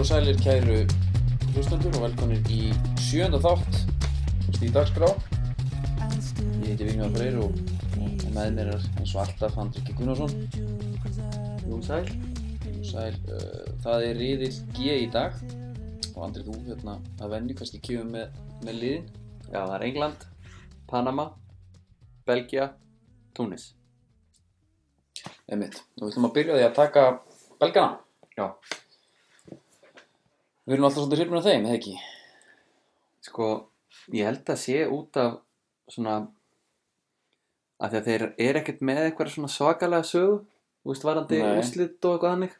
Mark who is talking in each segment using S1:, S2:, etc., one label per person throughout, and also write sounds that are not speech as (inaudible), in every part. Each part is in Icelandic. S1: og sælir kæru hlustendur og velkonir í sjönda þátt í dagskrá. Ég heiti Vignjóðar Freyr og, og og með mér er eins og alltaf Andrik Gunnarsson.
S2: Nú sæl,
S1: Sæl, uh, það er riðil G í dag og Andri þú hérna að venni kannski kemur með, með liðin.
S2: já það er England, Panama, Belgia, Túnis.
S1: Einmitt. Og við ætlum að byrja á því að taka belgana.
S2: Já,
S1: Við erum alltaf svolítið hrifnir af þeim, eða ekki?
S2: sko, ég held að sé út af svona, af því að þeir eru ekkert með eitthvað svona svakalega sögu, þú veist, varandi
S1: Nei.
S2: úrslit og eitthvað hannig,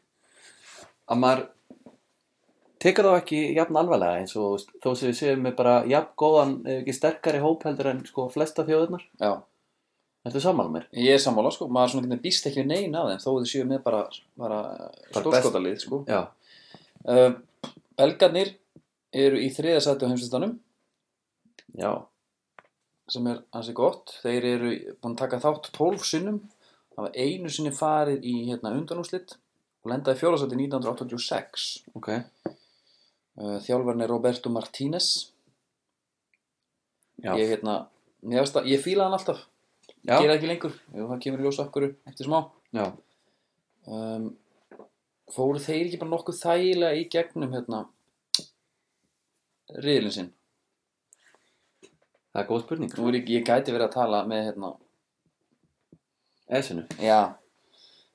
S2: að maður tekur þá ekki jafn alvarlega eins og þú veist, þó sem við séum með bara jafn góðan, ef ekki sterkari hóp heldur en sko flesta þjóðurnar,
S1: Já.
S2: heldur sammála mér.
S1: Ég er sammála, sko. Maður svona hvernig býst ekki við neina af þeim þó þau séu með bara, bara
S2: Bara
S1: stórskotalið, sko.
S2: Já,
S1: Uh, Belgarnir eru í þriða sæti á heimslistanum
S2: já,
S1: sem er hansi gott. Þeir eru búin að taka þátt 12 sinnum. Það var einu sinni farið í hérna, undanúslitt og lendaði fjóra sæti 1986.
S2: ok,
S1: Uh, Þjálfarinn er Roberto Martínez.
S2: já,
S1: Ég, hérna, mér varst að- ég fíla hann alltaf.
S2: já,
S1: Gera ekki lengur. Jú, það kemur í ljós okkur eftir smá.
S2: já,
S1: Um, fóru þeir ekki bara nokkuð þægilega í gegnum hérna riðlinn sinn?
S2: það er góð spurning.
S1: Nú er ég, ég gæti verið að tala með hérna
S2: Esinu.
S1: Já,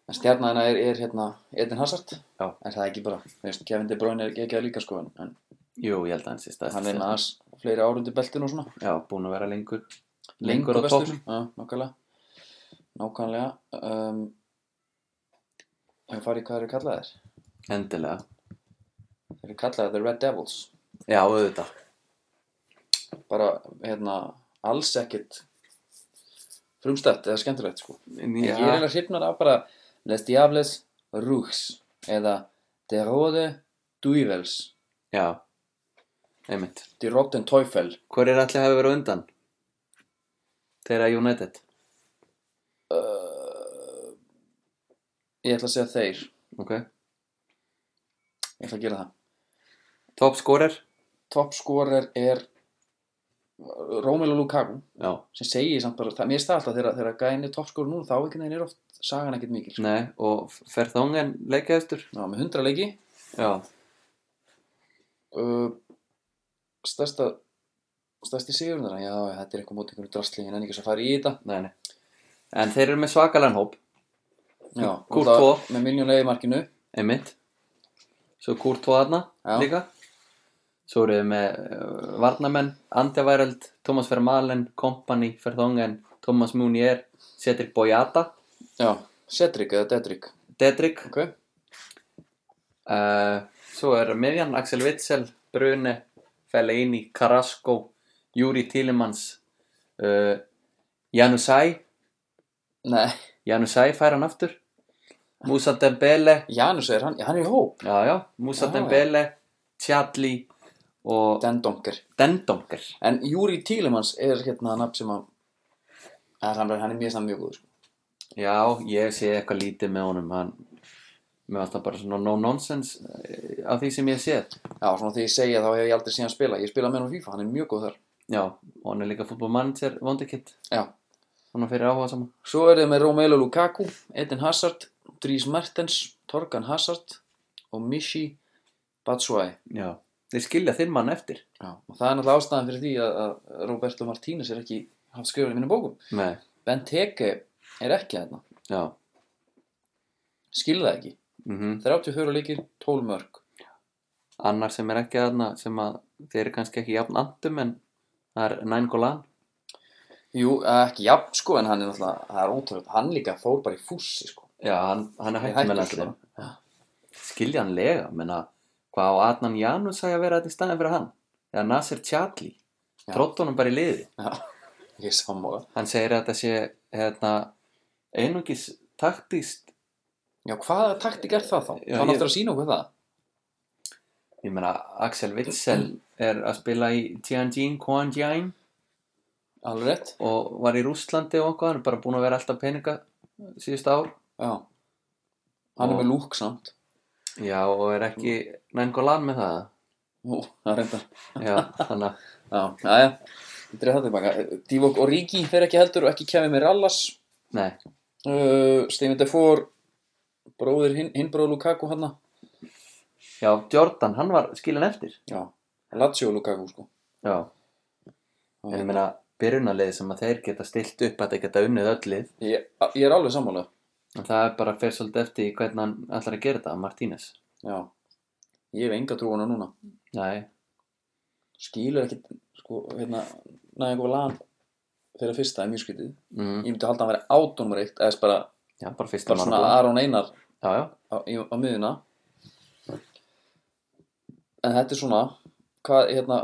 S1: en stjarnæðina er, er hérna Edin Hazard
S2: Já.
S1: En það er ekki bara, þú veist, Kevin De Bruyne er ekki að líka sko En, en
S2: Jú, ég held að hann sé staðst.
S1: hann er með aðeins fleiri árundi beltin og svona
S2: Já, búinn að vera lengur. á
S1: bestur.
S2: toppnum.
S1: Já, nákvæmlega Nákvæmlega um, En farið í hvað eru kallaðir?
S2: Endilega.
S1: Þeir eru kallaðir The Red Devils
S2: Já, auðvitað.
S1: Bara, hérna, alls ekkit Frumstætt eða skemmtilegt sko En Ég
S2: Já,
S1: er eiginlega hrifnar af bara Les Diables Rugs Eða De Rode Duivels
S2: já. Einmitt.
S1: Die Rotten Teufel
S2: Hvor er allir að hafa verið á undan? Þeirra United.
S1: Uh, ég ætla að segja þeir ég
S2: Ok.
S1: ætla að gera það
S2: Top scorer?
S1: toppskorer er Romelu Lukaku
S2: Já.
S1: sem segir samt bara, það, mér finnst það alltaf þegar, þegar gæðin er toppskorer nú þá ekki neðin er oft sagan ekkert mikil sko.
S2: Nei, og fer þóngan leikjaðistur?
S1: Ná, með 100 leiki
S2: Já.
S1: uh, stærsta stærsti sigurinn þeirra, já já, þetta er eitthvað mót einhverju drastlingin en ekki svo að fara í þetta
S2: Nei, nei. En þeir eru með svakalan hóp.
S1: já,
S2: Courtois.
S1: út af- með miljónlegi markinu
S2: Einmitt. Svo Courtois aðna
S1: Já.
S2: líka. Svo eru við með uh, Varnamenn, Andjaværeld, Thomas Vermalen, Kompany, Ferðongen, Thomas Munier, Cedric Boyata,
S1: já, Cedric eða Dedric
S2: Dedrick.
S1: ok,
S2: Uh, svo er Miðjan, Axel Witzel, Brune, Fellaini, Carrasco, Júri Tílimans, uh, Janusai,
S1: nei,
S2: Janusai fær hann aftur, Musa Dembele,
S1: Janus er hann, hann er í hóp
S2: já já, Musa
S1: Já, já.
S2: Dembele, Tjalli og
S1: Den Donker
S2: Dendonker.
S1: En Júri Tílemans er hérna nafn sem að að hann er, hann er mjög saman mjög góður sko.
S2: Já, ég sé eitthvað lítið með honum hann, með alltaf bara svona no-nonsense eh, af því sem ég sé
S1: Já, svona þegar ég segja þá hef ég aldrei séð hann spila Ég spila með hann á FIFA, hann er mjög góð þar
S2: Já, og hann er líka fútbolmanager, vondikitt
S1: Já,
S2: hann er fyrir áhuga saman
S1: svo er þið með Romelu Lukaku Eden Hazard, Dries Mertens Torgan Hazard og Mishi Batshuayi
S2: Já, þeir skilja þinn mann eftir
S1: Já, og það er náttúrulega ástæðan fyrir því að, að Roberto Martínez er ekki haft skrifað í mínum bókum
S2: Nei,
S1: Ben Teke er ekki þarna
S2: já
S1: Skil það ekki
S2: mm
S1: 34 leikir, 12 mörg
S2: Annar sem er ekki aðna sem að þeir eru kannski ekki jafn andum en það er Nængolan
S1: Jú, ekki jafn sko en hann er náttúrulega, það er ótrúlega hann líka fór bara í fússi sko
S2: Já, hann, hann
S1: Ég
S2: er hægt
S1: hætti
S2: með
S1: svo.
S2: landsliðinu Skiljanlega, menna hvað á Adnan Janus að vera þetta í staðin fyrir hann eða Nasir Tjalli
S1: Já.
S2: trótt honum bara í liði
S1: Já, ég er sammála.
S2: hann segir að þetta sé hérna, einungis taktíst
S1: Já, hvaða taktik er það þá?
S2: Já,
S1: Þannig
S2: ég-
S1: aftur að sína okkur það.
S2: ég meina Axel Witzel er að spila í Tianjin Kuanjian
S1: Alveg rétt.
S2: og var í Rússlandi og okkur hann er bara búin að vera alltaf peninga síðust ár
S1: Já. Hann er
S2: Og-
S1: með lúk samt.
S2: Já, og er ekki Nengolan með það?
S1: Ú, það er reynda.
S2: Já, þannig að,
S1: Já, já, já. Ég dreif það tilbaka. Divok Origi fer ekki heldur og ekki kemur með Rallas.
S2: nei,
S1: Uh, Steven Defour, bróðir hinn, hinn bróður Lukaku hann.
S2: já, Jordan, hann var skilin eftir.
S1: Já, Lazio Lukaku sko.
S2: Já, en ég meina, byrjunarlið sem að þeir geta stilt upp að þeir geta unnið öllið,
S1: Ég, ég er alveg sammála.
S2: en það er bara fer svolítið eftir í hvernig hann ætlar að gera þetta, Martínez.
S1: Já, ég hef enga trúana núna.
S2: Nei,
S1: Skilur ekki, sko, hérna, næði einhver land fyrir að fyrsta er mjög skritið.
S2: mm,
S1: Ég myndi halda að hann væri átónum reykt, eða þess bara,
S2: já, bara fyrsta
S1: bara
S2: mann
S1: svona
S2: og búinn.
S1: Aron Einar
S2: Já, já,
S1: á, í, á miðuna en þetta er svona hvað, hérna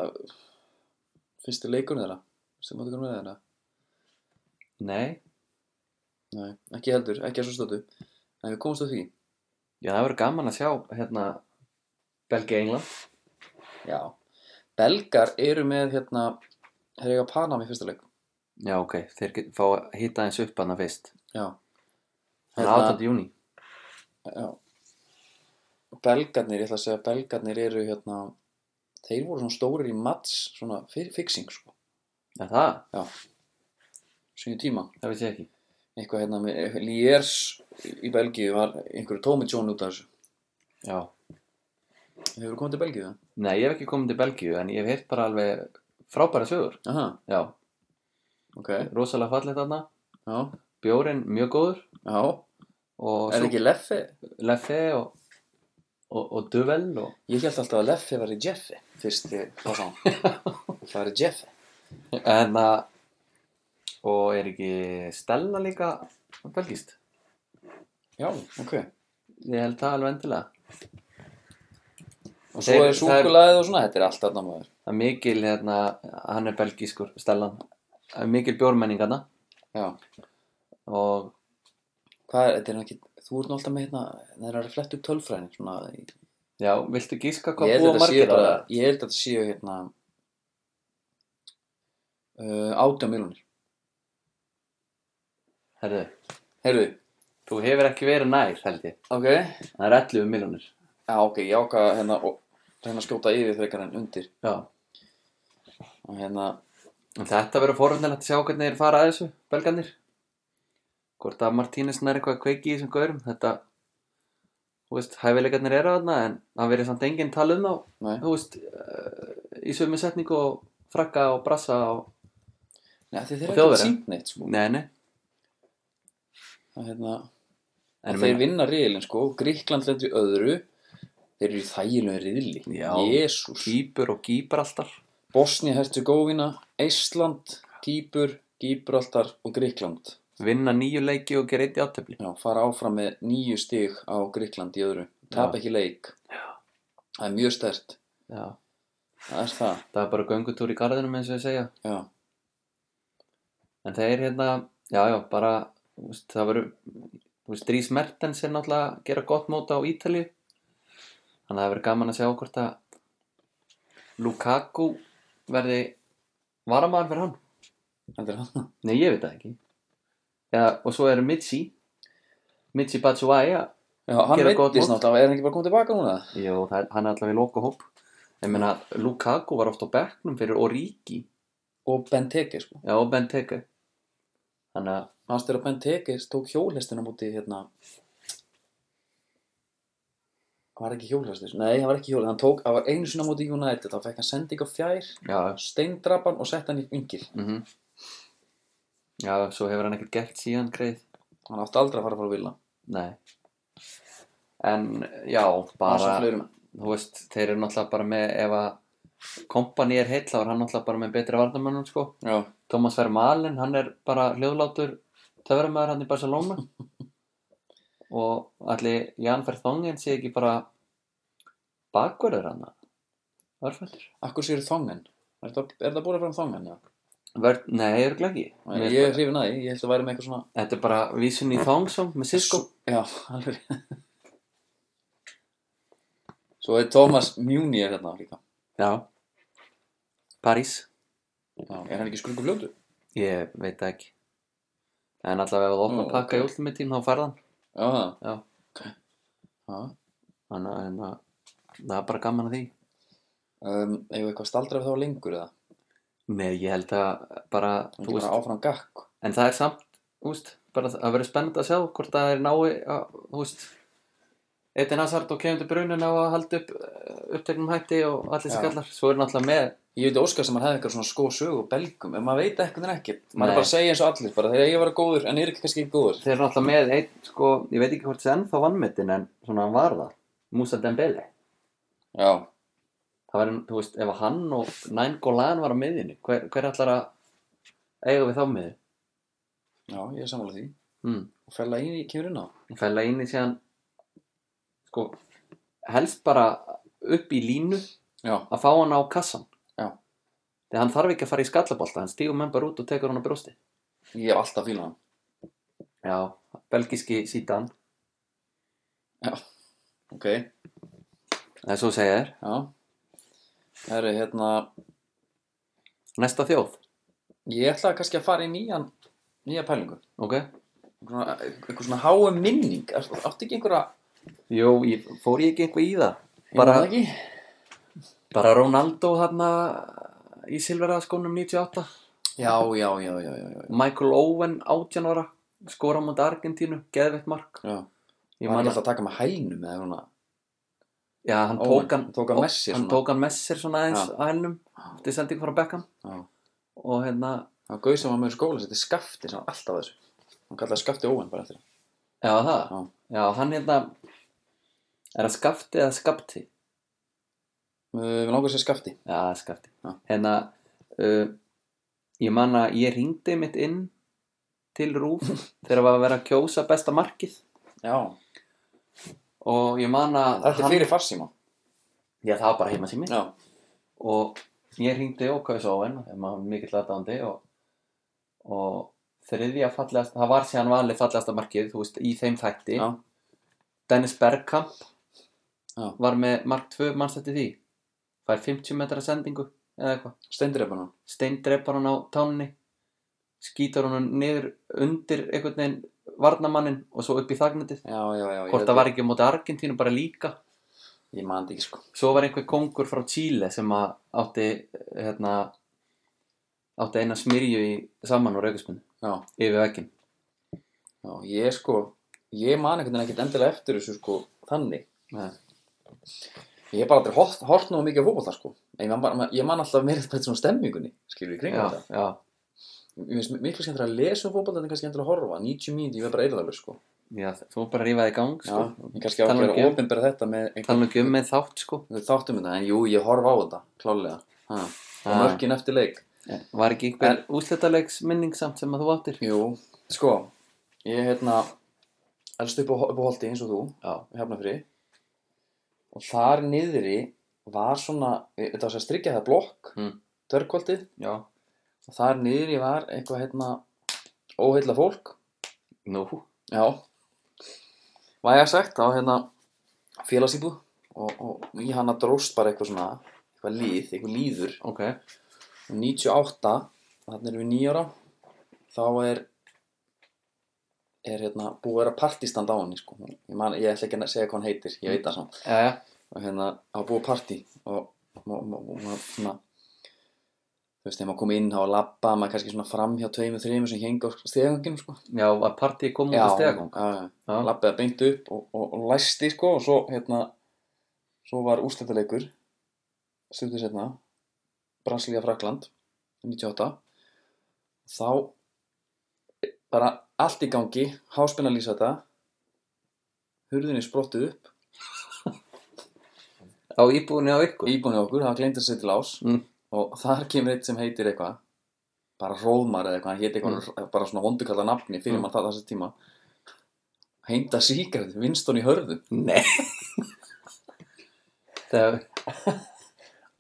S1: fyrsti leikurinn þeirra sem áttu konar með þeirra
S2: nei,
S1: Nei, ekki heldur, ekki að svo stötu en við komumst á því
S2: já, það verður gaman að sjá, hérna, Belgia-England.
S1: Já. belgar eru með hérna þeir eiga Panam í fyrsta leik
S2: Já, ok, þeir get, fá að hýta eins upp hann fyrst.
S1: já. Hérna,
S2: Þannig að 8. júni.
S1: já. belgarnir, ég ætla að segja belgarnir eru hérna þeir voru svona stórir í mats svona fyr- fixing sko,
S2: Já, það,
S1: sínu tíma
S2: það vissi ég ekki.
S1: eitthvað hérna með Liers í Belgíu var einhverju Tómi John út af þessu.
S2: Já,
S1: Hefur þú komið til Belgíu það?
S2: nei, ég hef ekki komið til Belgíu, en ég hef heyrt bara alveg frábæra sögur.
S1: Aha,
S2: Já,
S1: ok.
S2: rosalega fallet þarna.
S1: Já,
S2: Bjórinn mjög góður
S1: já.
S2: og
S1: Er
S2: svo
S1: ekki Leffe?
S2: leffe og, og, og duvel og...
S1: Ég held alltaf að Leffe var í Jeffe fyrst þegar það sá hann. Það var í Jeffe.
S2: En að... Og er ekki Stella líka belgist?
S1: Já, ok.
S2: Ég held það alveg endilega.
S1: Og svo
S2: Þeir-
S1: er súkulaðið og svona, þetta er allt annað maður.
S2: Það er mikil, hérna, hann er belgiskur, Stellan. Það er mikil bjórmenningarna
S1: Já.
S2: og
S1: Hvað er, þetta er nú ekki, þú ert nú alltaf með hérna, það er að fletta upp tölfræðin, svona. Ég
S2: já, viltu gíska hvað
S1: held
S2: búa
S1: þetta séu
S2: margir á
S1: bara,
S2: það?
S1: ég held þetta séu hérna, uh, átján miljonir.
S2: Herðu,
S1: Heyrðu,
S2: þú hefur ekki verið nær, held ég.
S1: ok.
S2: Það er 11 miljónir.
S1: Já, ok, ég ákvað að hérna, og- reyna að skjóta yfir frekar en undir
S2: Já.
S1: og hérna,
S2: En þetta verður forvöndilegt að sjá hvernig þeir fara að þessu, belgarnir. Hvort að Martínesson er eitthvað að kveiki í þessum gaurum. Þetta, þú veist, hæfileikarnir eru þarna en það verður samt enginn tala um þá,
S1: nei,
S2: þú veist, uh, í sömu setningu og frakka og brassa og...
S1: nei því þeir
S2: Og
S1: eru ekki
S2: Þjóðverja?
S1: sínt neitt sko.
S2: Nei, nei.
S1: að, hérna,
S2: En
S1: þeir
S2: meina-
S1: vinna riðilinn sko, Gríkland lendur í öðru þeir eru í þægilegum riðli
S2: Já.
S1: Jésús,
S2: Kýpur og kýpar alltaf.
S1: Bosnia, Herzegovina Eistland, Kýpur Gíbraltar og Gríkland
S2: Vinna nýju leiki og gera eitt í áttöfli.
S1: já, fara áfram með nýju stig á Gríkland í öðru, tap
S2: Já.
S1: ekki leik já. það er mjög stert
S2: Já.
S1: það er það,
S2: Það er bara göngutúr í garðinum eins og ég segja.
S1: já,
S2: En þeir hérna, já, já, bara, þú veist, það verður, þú veist, Dries Mertens er náttúrulega að gera gott móta á Ítalíu. Þannig að það verður gaman að sjá hvort að Lukaku verði varamaðan fyrir hann.
S1: þetta er hann
S2: Nei, ég veit það ekki. Já, og svo er Mitsi, Mitsi Batshuayi,
S1: já, hann
S2: Gera gott
S1: veitist
S2: mót.
S1: náttúrulega, er hann ekki bara komið tilbaka núna?
S2: jú, það er, hann er allavega í loka hóp. Ég meina, Lukaku var oft á bekknum fyrir Origi,
S1: og Benteke sko
S2: já, og Benteke. Þannig að,
S1: Manstu þegar Ben Tekis tók hjólhestina múti hérna Var ekki hjólhestir? Nei, það var ekki hjólhestir, hann tók, það var einu sinna múti United, þá fekk hann sendingu á fjær
S2: já, já.
S1: steindrapan og sett hann í vingil
S2: Mm Já, svo hefur hann ekkert gert síðan greið.
S1: hann átti aldrei að fara að fara að vilja
S2: Nei. En já,
S1: bara
S2: bara, þú veist, þeir eru náttúrulega bara með, ef að kompani er heill, þá er hann náttúrulega bara með betri varnamönnum, sko.
S1: Já,
S2: Thomas Vermaelen, hann er bara hljóðlátur töframæður hann í
S1: (laughs)
S2: Barcelona. Og allir Jan Vertonghen sé ekki bara bakverður hann. Örfældur.
S1: akkur séu þangan Er það, er það búið að fara um þangan? Já.
S2: Vörð, nei, örglega ekki.
S1: Ég
S2: Mér-
S1: er hrifin að því, ég held að væri með eitthvað svona
S2: Þetta er bara vísun í Thongsong með Sisko.
S1: Já, alveg Svo er Thomas Mjúni er hérna líka
S2: Já París,
S1: Já, Er hann ekki skrungu fljótu?
S2: ég veit það ekki En allavega ef þú opnar
S1: Nú,
S2: pakka
S1: ok.
S2: í últum með tím þá færðan
S1: Já, það
S2: Já.
S1: Já.
S2: Þannig að hérna, það er bara gaman að því.
S1: Um, Eða eitthvað staldra við þá lengur eða?
S2: Nei, ég held að bara,
S1: Þú
S2: þú
S1: veist
S2: veist,
S1: áfram gakk.
S2: en það er samt, þú veist, bara að það verður spennandi að sjá hvort það er nái, að, þú veist, Eden Hazard og Kevin De Bruyne ná að halda upp eh, uppteknum hætti og allir þessi
S1: Já.
S2: kallar. Svo er náttúrulega með,
S1: Ég veit óskast að maður hefði eitthvað svona sko sögu og belgum, en maður veit ekkert en ekkert. Maður
S2: Nei.
S1: er bara að segja eins og allir, bara þegar ég var góður, en ég er ekki kannski ekki góður.
S2: þeir eru náttúrulega með einn, sko, ég veit ekki hvort þessi ennþá vannmetinn en svona hann var það, Musa Dembele.
S1: Já,
S2: Það verður, þú veist, ef hann og Nain Golan var á miðjunni, hver, hver ætlar að eiga við þá miðju?
S1: já, ég er sammála því.
S2: Mm.
S1: Og fella í, kemur inn á.
S2: fæla inn í síðan sko, helst bara upp í línu
S1: Já,
S2: að fá hann á kassan
S1: Já.
S2: þegar hann þarf ekki að fara í skallabolta hann stígur menn bara út og tekur hann á brjósti
S1: ég hef alltaf fílað hann.
S2: já, belgiski sítan
S1: Ok, já.
S2: en svo segja þér,
S1: Það eru hérna,
S2: næsta þjóð
S1: ég ætlaði kannski að fara í nýjan, nýja pælingu.
S2: ok,
S1: Svona, eitthvað svona háum minning. Er- Áttu ekki einhverja,
S2: jú, ég, fór ég ekki einhver í það
S1: ég man
S2: bara,
S1: það ekki?
S2: bara Ronaldo hann í silverðaskónum 98
S1: Já, já, já, já, já, já.
S2: Michael Owen 18 ára skora mútið Argentínu, geðveitt mark
S1: já.
S2: ég
S1: Ég man
S2: man að,
S1: alltaf að taka með hælnum eða svona.
S2: já, hann
S1: Owen,
S2: tók hann
S1: tók hann Messi
S2: hann
S1: svona.
S2: tók hann messir svona aðeins
S1: Já.
S2: að hennum eftir sendingu frá Beckham
S1: Já.
S2: og hérna,
S1: Það var gauð sem var með í skóla, þetta er skafti sem var alltaf að þessu. Hann kallaði skafti óvæn bara eftir það.
S2: já það
S1: Já.
S2: hann hérna er það skafti eða skapti?
S1: Uh, Við langar að segja skafti.
S2: já, það er skafti
S1: Já.
S2: hérna, uh, ég man að ég ringdi mitt inn til
S1: (laughs)
S2: Rúf þegar var að vera að kjósa besta markið
S1: Já.
S2: og ég man að
S1: Þetta er fyrir farsíma.
S2: já, það var bara heima sími
S1: Já.
S2: og ég ringdi og kaus Owen þegar maður var mikill aðdáðandi og, og þriðja fallegast það var síðan valið fallegasta markið þú veist, í þeim þætti
S1: Já.
S2: Dennis Bergkamp
S1: Já.
S2: var með mark 2 mannstætti því fær 50 metra sendingu eða eitthvað
S1: Steindreipana.
S2: steindreipar hann á tánni skýtar hann niður undir einhvern veginn varnamannin og svo upp í þagnandið
S1: Já, já, já.
S2: hvort það var ekki á móti Argentínu bara líka
S1: ekki. Ég man þetta ekki sko.
S2: svo var einhver kongur frá Chile sem að átti hérna, átti eina smyrju í saman úr aukurspunni
S1: Já.
S2: yfir vekkin
S1: Já, ég sko, ég man einhvern veginn ekkert endilega eftir þessu sko, þannig. Ég hef bara aldrei hort, hort nógu mikið á fótbolta sko. En Ég man, bara, ég man alltaf meira þetta svona stemmingunni, skilur í kringum
S2: já,
S1: þetta.
S2: já,
S1: Mér finnst miklu skemmt að lesa um fótbolta en kannski endur að horfa. 90 mínúti, ég verð bara eirðalur sko.
S2: já, þú var bara að rífa þig í gang
S1: Já,
S2: sko.
S1: ég kannski átt að
S2: Tala nú ekki
S1: vera
S2: um-
S1: ofinbera þetta með einhver-
S2: tala nú ekki um með þátt sko.
S1: Við þáttum þetta, en jú, ég horf á þetta, klálega. Ha. Og
S2: Ha.
S1: mörkin eftir leik.
S2: var ekki einhver úsletalegs minning samt sem að þú áttir
S1: Jú, sko, ég hérna, elst upp á, upp á holdi eins og þú,
S2: já,
S1: hefnafri. Og þar niðri var svona, þetta var sér strikkja það blokk,
S2: Mm.
S1: dörgkvöldið.
S2: já,
S1: Og þar niðri var eitthvað hérna, óheilla fólk.
S2: nú
S1: Já. Væga sagt, þá hérna, félagsýbúð. Og, og í hana dróst bara eitthvað svona, eitthvað líð, eitthvað líður.
S2: ok,
S1: Og 98, þannig erum við nýjára, þá er, er hérna, búið að vera partístand á henni, sko. Ég, man, ég ætla ekki að segja hvað hann heitir, ég veit það samt.
S2: já, já,
S1: Og hérna, það var búið partí og, og, og, og, og svona, þú veist, þegar maður kom inn á að labba, maður kannski svona fram hjá tveimur, þreimur sem hengi á steganginu, sko.
S2: já, var partíi komið út á stegagang
S1: já, já.
S2: já,
S1: Labbaði beint upp og, og, og læsti, sko, og svo, hérna, svo var úrslitaleikur, stundu setna, Brasilía Frakland, 98. Þá e, bara allt í gangi, háspenna lýsa þetta, hurðinni sprottuð upp,
S2: á íbúinni á ykkur
S1: íbúinu okkur, það gleymdi að setja til ás
S2: Mm.
S1: og þar kemur eitt sem heitir eitthvað, bara Róðmar eða eitthvað, hann héti eitthvað, bara svona vondukalla nafni fyrir
S2: Mm.
S1: maður það þessi tíma. Heimda síkert, Winston í hörðu.
S2: nei (laughs) þegar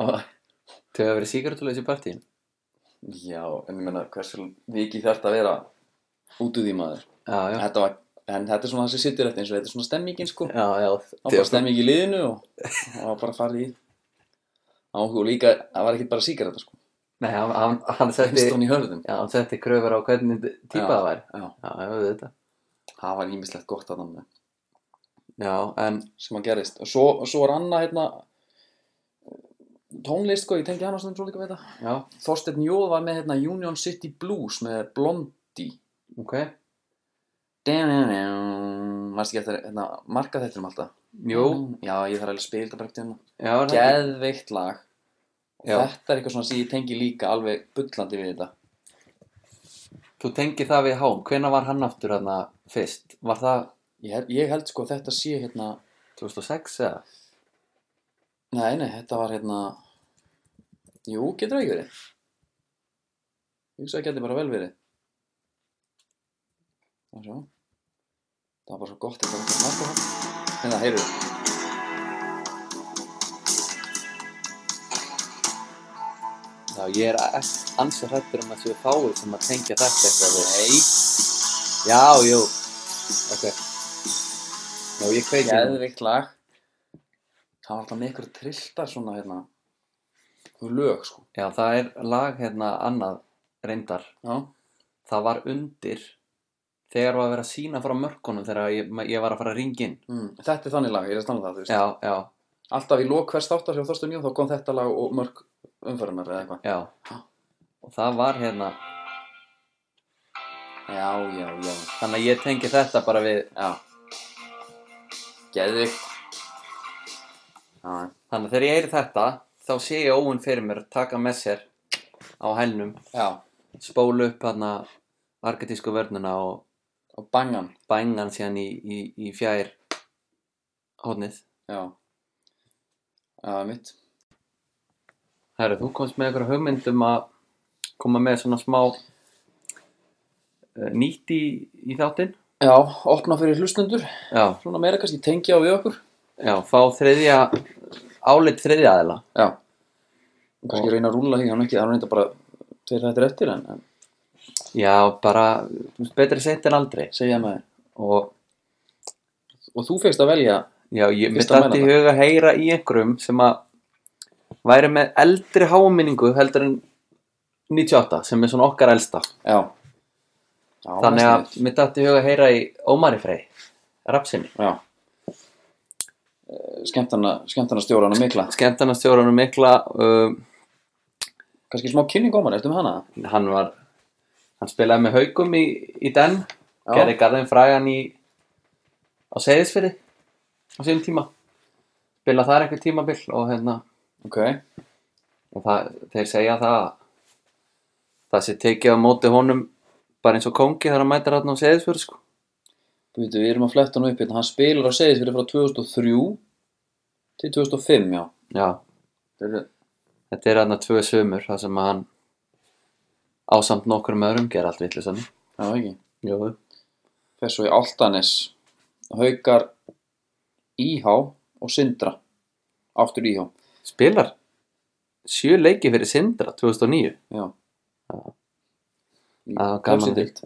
S1: Og
S2: þau hafa verið síkartulegis í partíin
S1: Já, en ég meina hversu vikið þarf þetta að vera út úr því maður
S2: já, já,
S1: þetta var, En þetta er svona þessi sittur eftir eins og þetta er svona stemmingin sko Það
S2: já, já
S1: var bara stemming í liðinu og það var bara farið í Á og líka, það var ekki bara síkar þetta sko
S2: Nei, hann, hann, hann setti
S1: Finnstón í hörðum
S2: Já, hann setti kröfur á hvernig típa
S1: Já.
S2: það væri
S1: Já,
S2: Já, ég veit þetta
S1: það var ímislegt gott að það
S2: já, en
S1: sem að gerist og svo, svo er annað hérna tónlist sko, ég tengi hann á stundum svo líka við þetta
S2: já,
S1: Þorsteinn Jóð var með hérna Union City Blues með Blondie
S2: ok
S1: Varst ekki eftir hérna, marka þetta um alltaf?
S2: jú,
S1: Já, ég þarf alveg að spila þetta bara eftir hérna
S2: Mm. já, er það ekki?
S1: Geðveikt lag og
S2: Já.
S1: þetta er eitthvað svona sem ég tengi líka alveg bullandi við þetta
S2: þú tengir það við Hám, hvenær var hann aftur hérna fyrst, var það
S1: Ég, hel- ég held sko að þetta sé hérna
S2: 2006 eða
S1: Nei, nei, þetta var hérna Jú, getur það ekki verið Ég hugsa að geti bara vel verið Það sjá Það var bara svo gott þetta var ekki margóð Hérna, heyrðu
S2: Já, ég er ansið hrættur um að séu fáið sem að tengja þetta eitthvað við. Nei. Já, jú. Ok. Já, ég kveiki. nú.
S1: Geðvikt lag Það var alltaf með ykkur trillta svona hérna Þú lög sko
S2: Já, það er lag hérna annað reyndar.
S1: Já,
S2: Það var undir þegar var að vera að sína frá mörkunum þegar ég, ma- ég var að fara að ringa inn.
S1: mm. þetta er þannig lag, ég er að standa það, þú veist
S2: Já, já,
S1: Alltaf í lok hvers þáttar hjá Þorstun Jón þá kom þetta lag og mörg umförunar eða eitthvað
S2: já. Og það var hérna,
S1: Já, já, já
S2: þannig að ég tengi þetta bara við,
S1: Já Geðvikt Já,
S2: þannig að þegar ég heyri þetta, þá sé ég óun fyrir mér taka með sér á hælnum,
S1: já
S2: spólu upp hérna argetísku vörnuna og
S1: Og bangan
S2: bængan síðan í, í, í fjær hóðnið.
S1: Já Já, mitt
S2: Herru, þú komst með einhverja hugmynd um að koma með svona smá uh, nýtt í, í þáttinn.
S1: Já, opna fyrir hlustendur
S2: Já,
S1: Svona meira kannski tengja á við okkur
S2: já, fá þriðja, álit þriðja aðila.
S1: Já Og kannski reyna að rúla því hann ekki Það er reynda bara Tveir þetta eftir en, en
S2: Já, bara þú veist, betri sett en aldrei.
S1: segja maður
S2: Og
S1: Og þú fegst að velja
S2: já, ég mitt
S1: Fyrsta
S2: alltaf í huga að heyra í einhverjum sem að væri með eldri háminningu heldur en 98 sem er svona okkar elsta.
S1: Já Já,
S2: Þannig
S1: það er
S2: að
S1: sniðugt.
S2: mitt alltaf í huga að heyra í Ómari Frey, rapsinni.
S1: Já Eh, Skemmtana, skemmtana stjóran og mikla
S2: skemmtarnastjóranum mikla um,
S1: Kannski smá kynning ómar, ertu með hana?
S2: hann var hann spilaði með haugum í, í den
S1: Já.
S2: gerði garðin frægan í á Seyðisfyrði á síðum tíma spilaði þar einhver tímabil og hérna
S1: Ok
S2: og það, þeir segja það að það sé tekið á móti honum bara eins og kongi þegar hann mætir hann á Seyðisfyrði sko.
S1: Býtu, við erum að fletta hann upp hérna Hann spilar á segið fyrir frá 2003 Til 2005, já
S2: já,
S1: Þetta eru
S2: þetta er hann að tvö sömur þar sem að hann ásamt nokkur með örum gera allt vittlisann
S1: Já, ekki
S2: jú,
S1: fer svo í Altanes Haukar Íhá og Sindra Áttur Íhá
S2: spilar sjö leiki fyrir Sindra 2009
S1: Já
S2: Já.
S1: Í
S2: Já, gaman að því.
S1: efstu deild.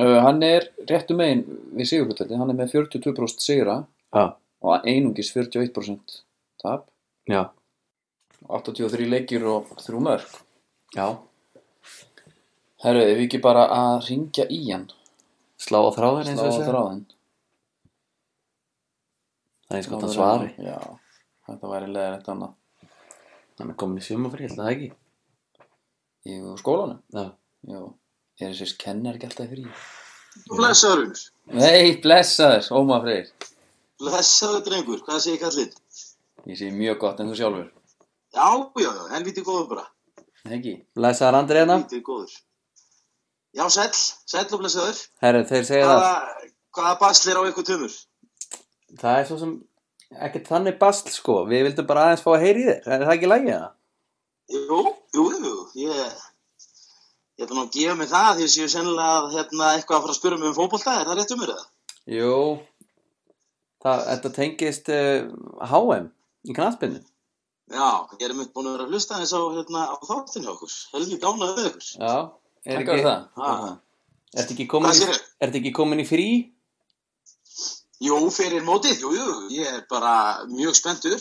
S1: Uh, Hann er réttu megin við sigurhlutaldi Hann er með 42% sigra
S2: já,
S1: og einungis 41% tap
S2: já,
S1: 83 leikir og 3 mörg
S2: já.
S1: Herru, ef við ekki bara að ringja í hann
S2: slá á þráðin eins
S1: Slá á
S2: og þessu
S1: þráðinn
S2: það er eins og
S1: Áður
S2: það
S1: en-
S2: svari
S1: Já, þetta væri leðar eitt annað
S2: hann er komin í sumafrí, held að það ekki
S1: Í skólanum?
S2: já,
S1: Jú, er þessi kennar ekki alltaf frí?
S3: Blessaður,
S1: Nei, blessaður, Ómar Freyr
S3: blessaður drengur, hvað segir kallinn?
S1: Ég sé mjög gott en þú sjálfur
S3: Já, já, já, helviti góður bara,
S1: Nei, Ekki?
S2: blæsaðar andri hérna
S3: helviti góður. Já, sæll, sæll og blessaður.
S2: herru, þeir segja það,
S3: Hvaða, hvaða baslir á ykkur tömur?
S2: það er svo sem ekkert þannig basl sko, við vildum bara aðeins fá að heyri þér, er það ekki lægið það?
S3: Jú, jú, jú, ég, ég ætla nú að gefa mig það því að séu sennilega að, hérna, eitthvað að fara að spyrja mig um fótbolta, er það rétt um mér eða?
S2: jú það, þetta tengist uh, HM í knatspinnu
S3: Já, ég er mynd búin að vera að hlusta eins á, hérna, á þáttin hjá okkur, helviti ánað við ykkur.
S2: já, er
S1: Takk fyrir
S2: ekki,
S1: það
S3: Ha.
S2: ertu ekki
S3: Hvað
S2: komin í,
S3: segirðu?
S2: ertu ekki komin í frí?
S3: Jú, fyrir mótið, jú, jú, ég er bara mjög spenntur.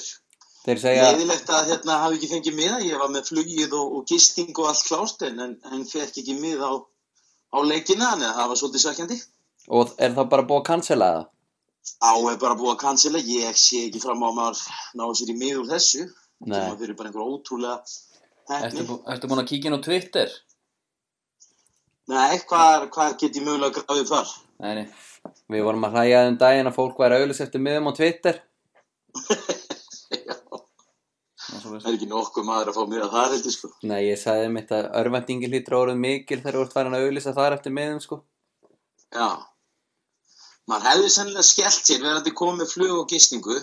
S2: þeir segja,
S3: Leðilegt að hérna hafi ekki fengið miða, ég var með flugið og, og gisting og allt klárt en, en, en fekk ekki miða á, á leikina, þannig að það var svolítið sækjandi.
S2: og er það bara búið að cancela það?
S3: Á er bara búið að cancela, ég sé ekki fram á að maður ná sér í miður þessu.
S2: Nei.
S3: Nei. Það fyrir bara einhver ótrúlega
S1: Ertu,
S3: hefni.
S1: bú, ertu búin að kíkja inn á Twitter?
S3: Nei, hvað, hvað get ég mögulega gráðið þar?
S1: Nei, nei.
S2: Við vorum að hlæja um daginn að fólk væri auðlis eftir miðum á Twitter.
S3: Já,
S1: það er svoleiðis.
S3: það er ekki nokkuð maður að fá miða þar heldur sko.
S2: Nei, ég sagði mitt að örvendingin hlýtur orðið mikil þegar þú ert farin að auðlýsa þar eftir miðum, sko.
S3: Já. Man hefði sennilega skellt sér verandi komið með flug og gistingu.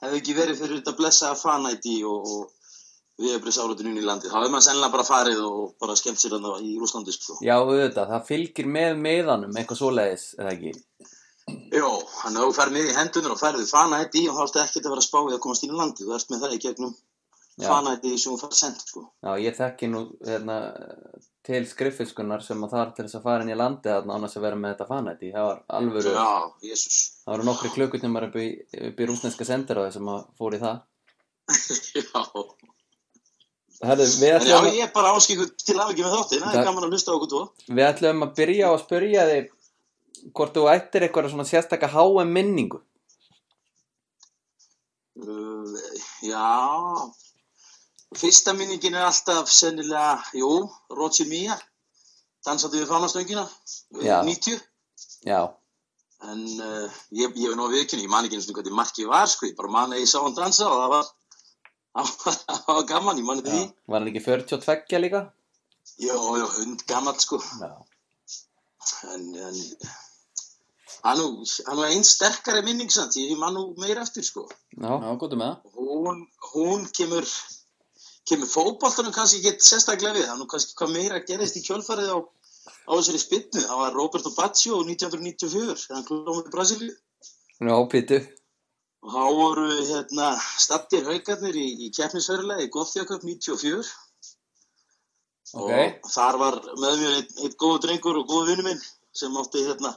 S3: Hefði ekki verið fyrir þetta blessaða fanæti og, og viðabriðsáratun inn í landið. Það hefði maður sennilega bara farið og bara skellt sér hann í Rúslandi sko.
S2: Já, auðvitað, það fylgir með miðanum, eitthvað svoleiðis, eða ekki?
S3: Jó, hann ef þú ferð með í hendunar og ferðið fanæti og þá ertu ekkert að vera að spá í að komast inn í landið. Þú ert með það í gegnum
S2: Já.
S3: fanæti sem þú ferð sent sko.
S2: Já, ég þekki nú hérna, til skriffiskunnar sem að þar til þess að fara inn í landið þarna án þess að vera með þetta fanæti. Það var alvöru,
S3: Já, jésus.
S2: það voru nokkri klukkutímar upp í, upp í rúsneska sendiráði sem að fór í það.
S3: Já.
S2: Herðu, við
S3: En já,
S2: ætlum,
S3: ég er bara áskikku til afhengi með þáttinn, það
S2: Takk.
S3: er gaman að hlusta á okkur tvo.
S2: við ætlum að byrja á að spyrja þig hvort þú ættir eitthvað svona sérstaka HM minningu.
S3: Uh, já, fyrsta minningin er alltaf sennilega, jú, Roger Mía, dansandi við fánastöngina,
S2: Já.
S3: 90.
S2: Já,
S3: En uh, ég, ég er nú að viðkynna, ég man ekki einu sinni hvernig markið var, sko, ég bara man að ég sá hann dansa og það var, (laughs) það var, það var gaman, ég man
S2: já.
S3: þetta því.
S2: Var hann ekki 42 líka?
S3: Jó, jó, hund gammalt, sko.
S2: Já.
S3: En, en, hann nú, hann nú einn sterkari minning, sant, ég man nú meira eftir, sko.
S2: Já,
S1: Já, gotum með það.
S3: hún, hún kemur kemur fótboltanum kannski ekki sérstaklega við, það er nú kannski hvað meira gerist í kjölfarið á, á þessari spinnu það var Roberto Baggio 1994 þegar hann klóði Brasilíu
S2: nú ápítu.
S3: og þá voru hérna stattir haugarnir í, í keppnisverulega í Gothjaköp 94
S1: Ok.
S3: og þar var með mér einn eit góð drengur og góð vinnu minn sem átti hérna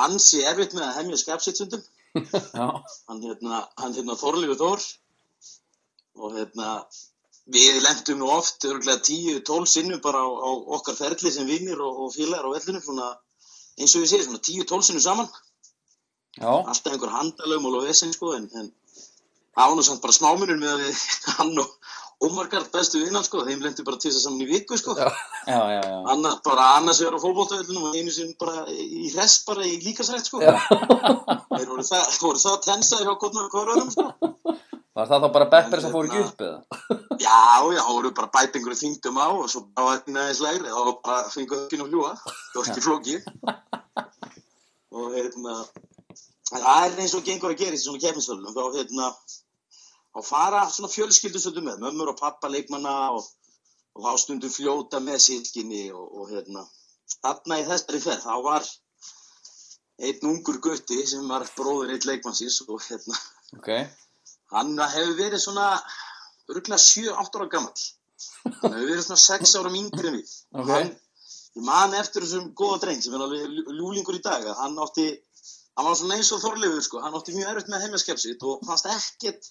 S3: ansi erfitt með að hemja skapsitsundum
S1: Já.
S3: hann hérna, hann hérna Þorlífi Þór og hérna við lendum nú oft örgulega 10-12 sinnum bara á, á okkar ferli sem vinnir og, og félagar á vellinu svona, eins og við séum, svona 10-12 sinnum saman
S1: Já.
S3: alltaf einhver handalögmál og vesen sko en, en það var nú samt bara smámunum með að við, (laughs) hann og Ómarkart bestu vinnan sko, þeim lendu bara til þess saman í viku sko,
S2: Já.
S1: Já, já, já.
S3: annars bara annars vegar á fólkbóltaöldunum og einu sinn bara í hress bara í líkasrætt sko
S2: Já.
S3: þeir voru það, voru það tensaði hjá hvernig hverjum öðrum sko
S1: Var það þá bara beppir sem fór ekki upp
S2: Hérna.
S1: eða?
S3: Já, já, þá voru bara bæt einhverju þingdum á og svo bara var þetta aðeins lægri þá var bara fengu hökkinn og hljúa það var ekki flókið og hérna en það er eins og gengur að gera í svona keppnisvöldum þá hérna þá fara svona fjölskyldu svolítið með mömmur og pappa leikmanna og, og þá stundum fljóta með sískinni og, og hérna þarna í þessari ferð þá var einn ungur gutti sem var bróður einn leikmannsins og hérna
S1: Ok.
S3: Hann hefur verið svona örgulega 7-8 ára gammal. Hann hefur verið svona 6 ára yngri en við.
S1: Ok.
S3: Hann, ég man eftir þessum góða dreng sem er alveg ljú- ljúlingur í dag. að Hann átti, hann var svona eins og þorleifur sko. Hann átti mjög erfitt með heimjaskepsið og fannst ekkert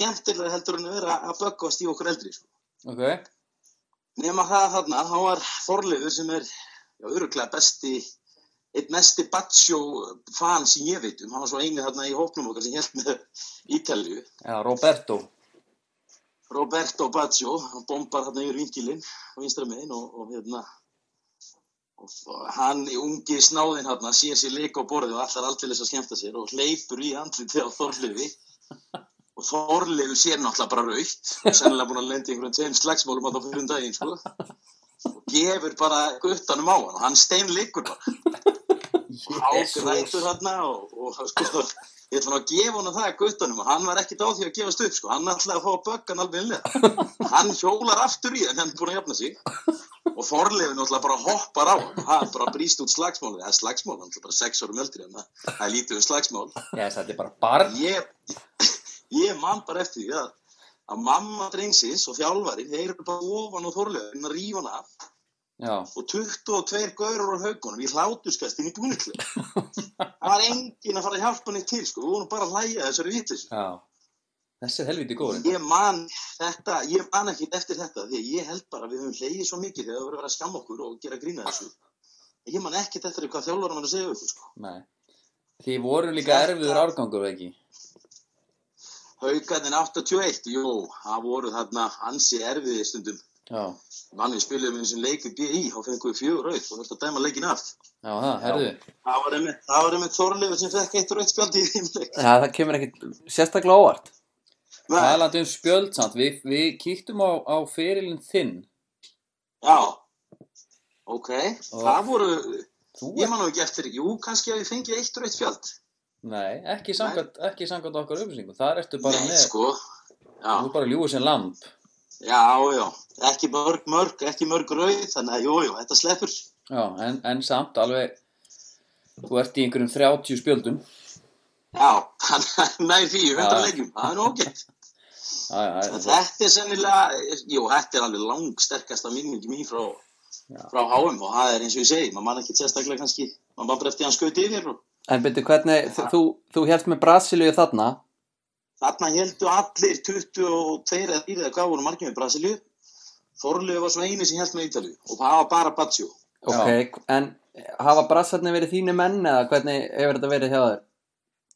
S3: skemmtilega heldur en að vera að böggast í okkur eldri sko.
S1: Ok.
S3: Nefna það þarna, þá var þorleifur sem er já, örgulega besti eitt mesti Baccio fan sem ég veit um, hann var svo eini þarna í hópnum okkar sem held með Ítalju
S1: Já, Roberto.
S3: Roberto Baggio, hann bombar hérna yfir vinkilinn á vinstra megin og, og hérna og f- hann ungi snáðinn hérna sér sér leik á borðið og allar aldrei að skemmta sér og hleypur í andlitið á Þorlefi og Þorlefi sér náttúrulega bara raukt og sennilega búin að lenda í einhverjum tveim slagsmálum að það fyrir um daginn sko og gefur bara guttanum á hann og hann steinleikur bara ágrætur hann og, og sko, ég ætla nú að gefa hann það að guttunum og hann var ekkit á því að gefast upp sko, hann ætlaði að fá að böggan alveg innlega hann hjólar aftur í en hann er búin að jafna sig og forlefin náttúrulega bara hoppar á hann og hann bara brýst út slagsmálið, það er slagsmál hann er bara sex árum eldri en það- það er lítið um slagsmál
S1: Já, þetta er bara barn.
S3: ég, ég man bara eftir því að, að mamma drengsins og þjálfarin þeir eru bara ofan á þorlefin að rífa hann af
S1: Já.
S3: og 22 gaurur á haugunum í hláturskastin í búniklu það var engin að fara að hjálpa henni til sko, við vorum bara að hlæja að þessari vitlis
S1: Já. Þessi er helviti góður.
S3: ég man þetta, ég man ekki eftir þetta því að ég held bara að við höfum hlegið svo mikið þegar það voru að vera að skamma okkur og gera grína þessu ég man ekki eftir því hvað þjálfarum hann að segja okkur sko.
S1: Nei. Þið voru líka
S3: Þetta-
S1: erfiður árgangur, eða ekki?
S3: Haukarnir 81, jú, það voru þarna ansi erfiði stundum.
S1: Já,
S3: Manni spiluðum eins og leikir BI, þá fengum við fjögur rauð og þurfti að dæma leikin af.
S1: já, það, herðu.
S3: Það var einmitt, það var einmitt Þorleifur sem fekk eitt rauð spjald í þeim leik.
S1: Eh,
S2: Já, það kemur ekkit sérstaklega óvart.
S3: Nei,
S1: Talandi um spjöld samt, við, við kíktum á, á fyrirlin þinn.
S3: já, ok, það voru,
S1: Þú
S3: ég
S1: er...
S3: man nú ekki eftir, jú, kannski að ég fengið eitt rauð spjald.
S1: Nei, ekki samkvæmt, ekki samkvæmt okkar upplýsingum. Þar ertu bara
S3: Nei,
S1: með,
S3: sko, já,
S1: þú er bara ljúið sem lamp.
S3: já, já, ekki mörg, mörg, ekki mörg rauð, þannig að, jú, jú, þetta sleppur.
S1: Já, en, en samt alveg, þú ert í einhverjum 30 spjöldum.
S3: Já, (laughs) hann nær því,
S1: Já.
S3: 100 leikjum, það er nú ágætt.
S1: Já, já,
S3: En
S1: já,
S3: þetta er sennilega, jú, þetta er alveg langsterkasta minningi mín frá,
S1: Já.
S3: frá HM og það er eins og ég segi, maður man ekki sérstaklega kannski, maður man bara eftir að hann skauti yfir og
S2: En byrju, hvernig, þú, þú, þú hérst með Brasilíu þarna,
S3: þarna heldu allir 22 eða 4 eða hvað voru margir með Brasilíu, Þorlegu var svo eini sem held með Ítalíu og það var bara Batsjó.
S2: ok, en hafa Brassarnir verið þínu menn eða hvernig hefur þetta verið hjá þér?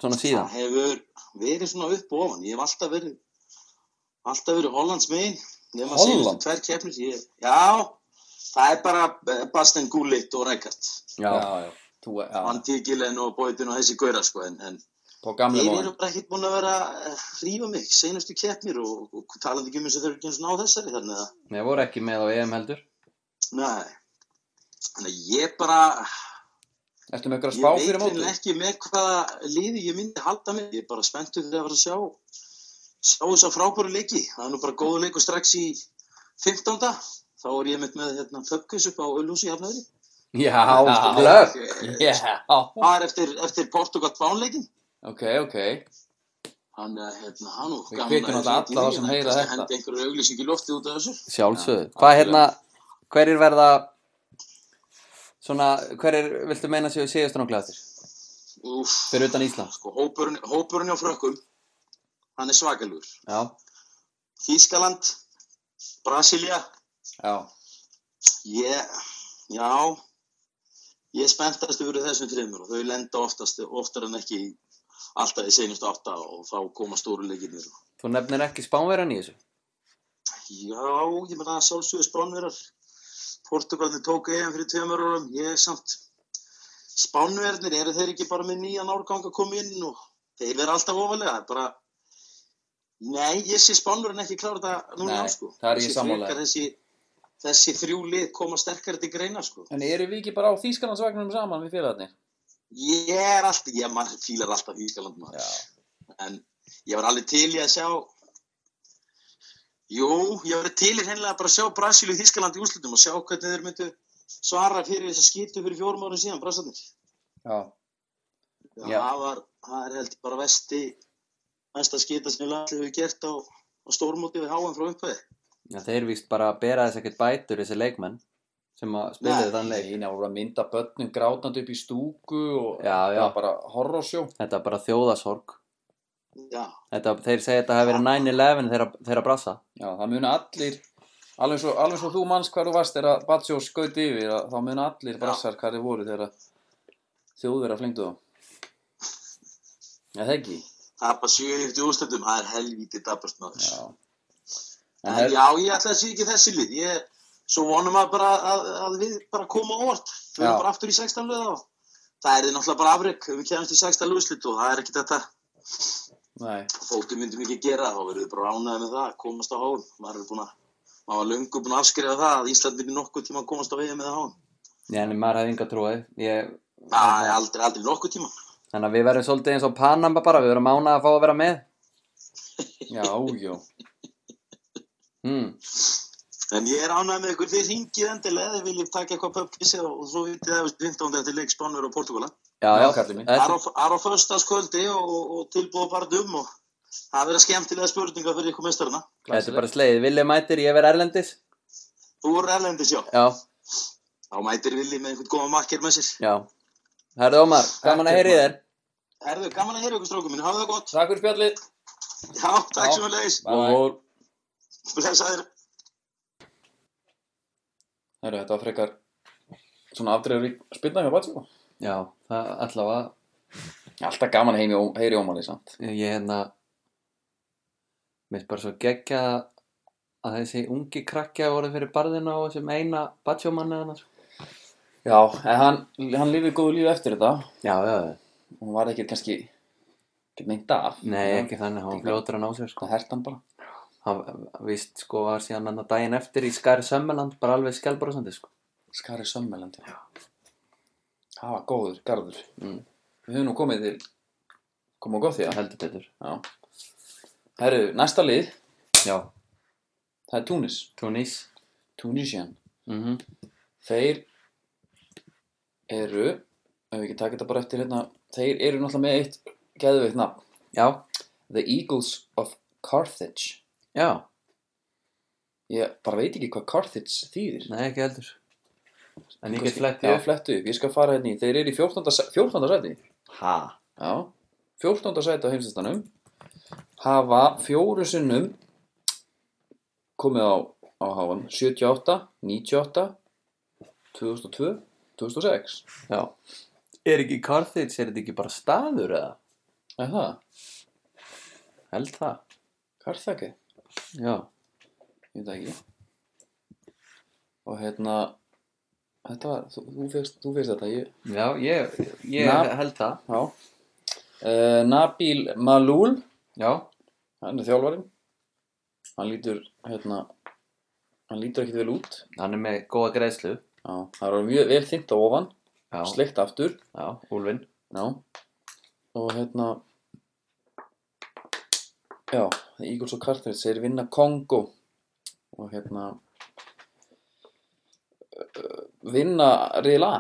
S2: Svona síðan?
S3: Það hefur verið svona upp og ofan, ég hef alltaf verið, alltaf verið Hollands megin, nema
S1: Holland?
S3: síðustu tvær keppnir, ég, já, það er bara eh, Basten Gullit og Rækart,
S2: Já,
S1: já, já. Þú, já,
S3: Van Tíkilen og Bóitin og þessi gauðra sko, en, en
S1: på gamle
S3: Þeir
S1: móðin.
S3: eru bara ekkert búin að vera að rífa mig, seinustu keppnir og, og talandi ekki um þess að þeir eru ekki eins og ná þessari þannig að,
S2: Nei, voru ekki með á EM heldur.
S3: nei, þannig að ég bara,
S1: Ertu með einhverja
S3: ég
S1: spá
S3: veit
S1: fyrir móti?
S3: reynilega ekki með hvaða liði ég myndi halda mig, ég er bara spenntur fyrir að vera að sjá, sjá þess að frábæru leiki, það er nú bara góðu leiku strax í 15. Þá er ég mitt með hérna Fökkis upp á Ullusi Hafnöðri.
S2: Já,
S1: Já.
S2: glöf!
S1: (laughs) Já,
S3: Það er eh, eftir, eftir Portugal Bánleikin.
S1: ok, ok.
S3: Hann, hérna, hann og
S1: Við hvetjum náttúrulega alla þá sem heyra þetta.
S3: Hendi einhverju auglýsing í loftið út af þessu.
S2: Sjálfsögðu.
S1: Já,
S2: Hvað
S1: algjörlega.
S2: hérna, hverjir verða, svona, hverjir viltu meina séu síðustrangljáðir?
S3: Úf,
S2: Fyrir utan Ísland.
S3: sko, hópurinn, hópurinn á frökkum, hann er svakalur.
S2: Já,
S3: Þískaland, Brasilia,
S1: Já,
S3: ég, já, ég er spenntast yfir þessum þreymur og þau lenda oftast, oftar en ekki í- alltaf í seinustu átta og þá koma stóru leikinnir.
S2: þú nefnir ekki spánverjan í þessu?
S3: Já, ég meina að sjálfsögur spánverjar, Portugalni tók EM fyrir tveimur árum, ég er samt, spánverðnir eru þeir ekki bara með nýjan árgang að koma inn og þeir verða alltaf ofalega, það er bara, nei, ég sé spánverðin ekki klára þetta núna,
S1: Nei,
S3: í ár, sko.
S1: það er ég
S3: Þessi
S1: sammála
S3: frekar
S1: þér.
S3: Þessi, þessi þrjú lið koma sterkari til greina, sko.
S1: en eru við ekki bara á Þýskalandsvagnum saman við félagarnir?
S3: Ég er alltaf, ég maður fílar alltaf Ískaland maður, en ég var alveg til í að sjá, jú, ég var til í hreinlega bara að sjá Brasil og Ískaland í úrslutum og sjá hvernig þeir myndu svara fyrir þess að skýrtu fyrir fjórum árum síðan, Brasilnir.
S1: Já,
S3: Já,
S2: Já.
S3: það var, það er held ég bara vesti, mesta skita sem landið hefur gert á, á stórmóti við háan frá upphæði.
S2: Já, þeir víst bara að bera þess ekkert bætur þessi leikmenn sem að spilaði
S3: Nei.
S2: þann leik.
S1: neina, voru að mynda börnum grátandi upp í stúku og
S2: Já,
S1: það
S2: já.
S1: var bara horrorsjó.
S2: Þetta var bara þjóðasorg.
S3: Já,
S2: Þetta, þeir segja þetta hafi verið 9-11 þeirra, þeirra brassa.
S1: Já, það muna allir, alveg svo, alveg svo þú manns hvar þú varst þegar Batsjó skauti yfir, að þá muna allir brassar hvar þið voru þegar þjóðverða flengdu þá. Já, það ekki.
S3: tapa 7-1 úrslutum, það er helvítið dapast maður.
S1: Já.
S3: en
S1: En her,
S3: já, ég ætla að sé ekki þessi lið. Ég, svo vonum að bara að, að við bara koma á orð. Við
S1: Já.
S3: erum bara aftur í 16 löða og það er náttúrulega bara afreg. Við kemumst í 16 löðslit og það er ekki þetta.
S1: nei,
S3: Þóttu myndum ekki gera það, þá verðum við bara ánæðið með það, að komast á háum. Maður er búin að, maður var löngu búin að afskrifa það að Ísland myndi nokkuð tíma að komast á E vegið með það háum.
S2: Já, en maður hefði yngar trúið. Ég,
S3: Nei, aldrei, aldrei nokkuð tíma.
S2: þannig að við verðum svolítið eins og Panama bara, við verðum ánað að fá að vera með.
S1: já, já.
S2: Hmm.
S3: En ég er ánægð með ykkur, þið ringið endilega eða viljið taka eitthvað pöpkissi og og svo vitið það við 15. eftir leik Spánverð og Portugala.
S2: Já,
S1: Já,
S2: já,
S1: kallið minn.
S3: Það er
S2: þetta,
S3: á- það er á föstaskvöldi og, og, og tilbúið bara dum og það verða skemmtilega spurninga fyrir ykkur mestarina.
S2: þetta er bara slegið. Vili mætir, ég verð erlendis.
S3: Þú voru erlendis, já.
S2: Já,
S3: Þá mætir Vili með einhvern góða makker með sér.
S2: já. Herðu Ómar, gaman að heyri þér.
S3: Erðu, gaman að heyra ykkur strákum minn, hafa það gott.
S1: Takk fyrir spjallið.
S3: Já, takk
S1: Já.
S3: sem við leiðis.
S1: Bye.
S2: Og-
S3: Blessaður.
S1: Heru, þetta var frekar svona afdreiður í spilna hjá Batsjó.
S2: Já, það allavega
S1: Alltaf gaman heim í heyri ómáli samt.
S2: Ég ég, hérna Mér er bara svo geggja að þessi ungi krakkja voru fyrir barðina og þessum eina batsjómanni hann
S1: Já, en hann, hann lifið góðu lífi eftir þetta.
S2: Já, já, já
S1: Hún var ekkert kannski, ekkert meint af.
S2: Nei, ekki þannig, hann var fljótur að ná sér sko
S1: Það hert hann bara.
S2: Hann vist sko var síðan hann að daginn eftir í Skæri Sömmeland bara alveg skjálbrosandi sko
S1: Skari Sömmelandi. Já. Það var góður, garður.
S2: Mm.
S1: Við höfum nú komið til, komum á gott því
S2: Það
S1: að.
S2: heldur betur
S1: Já. Herru, næsta lið,
S2: Já,
S1: það er Túnis.
S2: Túnis
S1: Tunisian.
S2: mm
S1: Þeir eru, ef við ekki taka þetta bara eftir hérna, þeir eru náttúrulega með eitt geðveikt nafn.
S2: Já,
S1: The Eagles of Carthage.
S2: já,
S1: Ég bara veit ekki hvað Carthage þýðir.
S2: nei ekki heldur En ég
S1: Kannski-
S2: get flett
S1: Já, flettu upp, ég skal fara hérna í Þeir eru í 14. sæ- 14. sæti
S2: Ha,
S1: Já, 14. sæti á heimslistanum Hafa fjóru sinnum Komið á, á HM 78, 98 2002 2006
S2: já Er ekki Carthage, er þetta ekki bara staður eða?
S1: Það er það,
S2: Held það,
S1: Karþaki
S2: já
S1: Ég veit það ekki Og hérna Þetta var, þú, þú, fegst, þú fegst þetta ég,
S2: Já, ég, ég
S1: Nab-
S2: held það
S1: Já uh, Nabil Malul
S2: Já,
S1: hann er þjálfarinn hann lítur hérna hann lítur ekkert vel út
S2: hann er með góða greiðslu
S1: já, það er orðið mjög vel þynnt á ofan
S2: Já,
S1: sleikt aftur
S2: já, Úlfin
S1: já. og hérna já, Eagles og Carthage þeir vinna Kongo og hérna uh, vinna Rila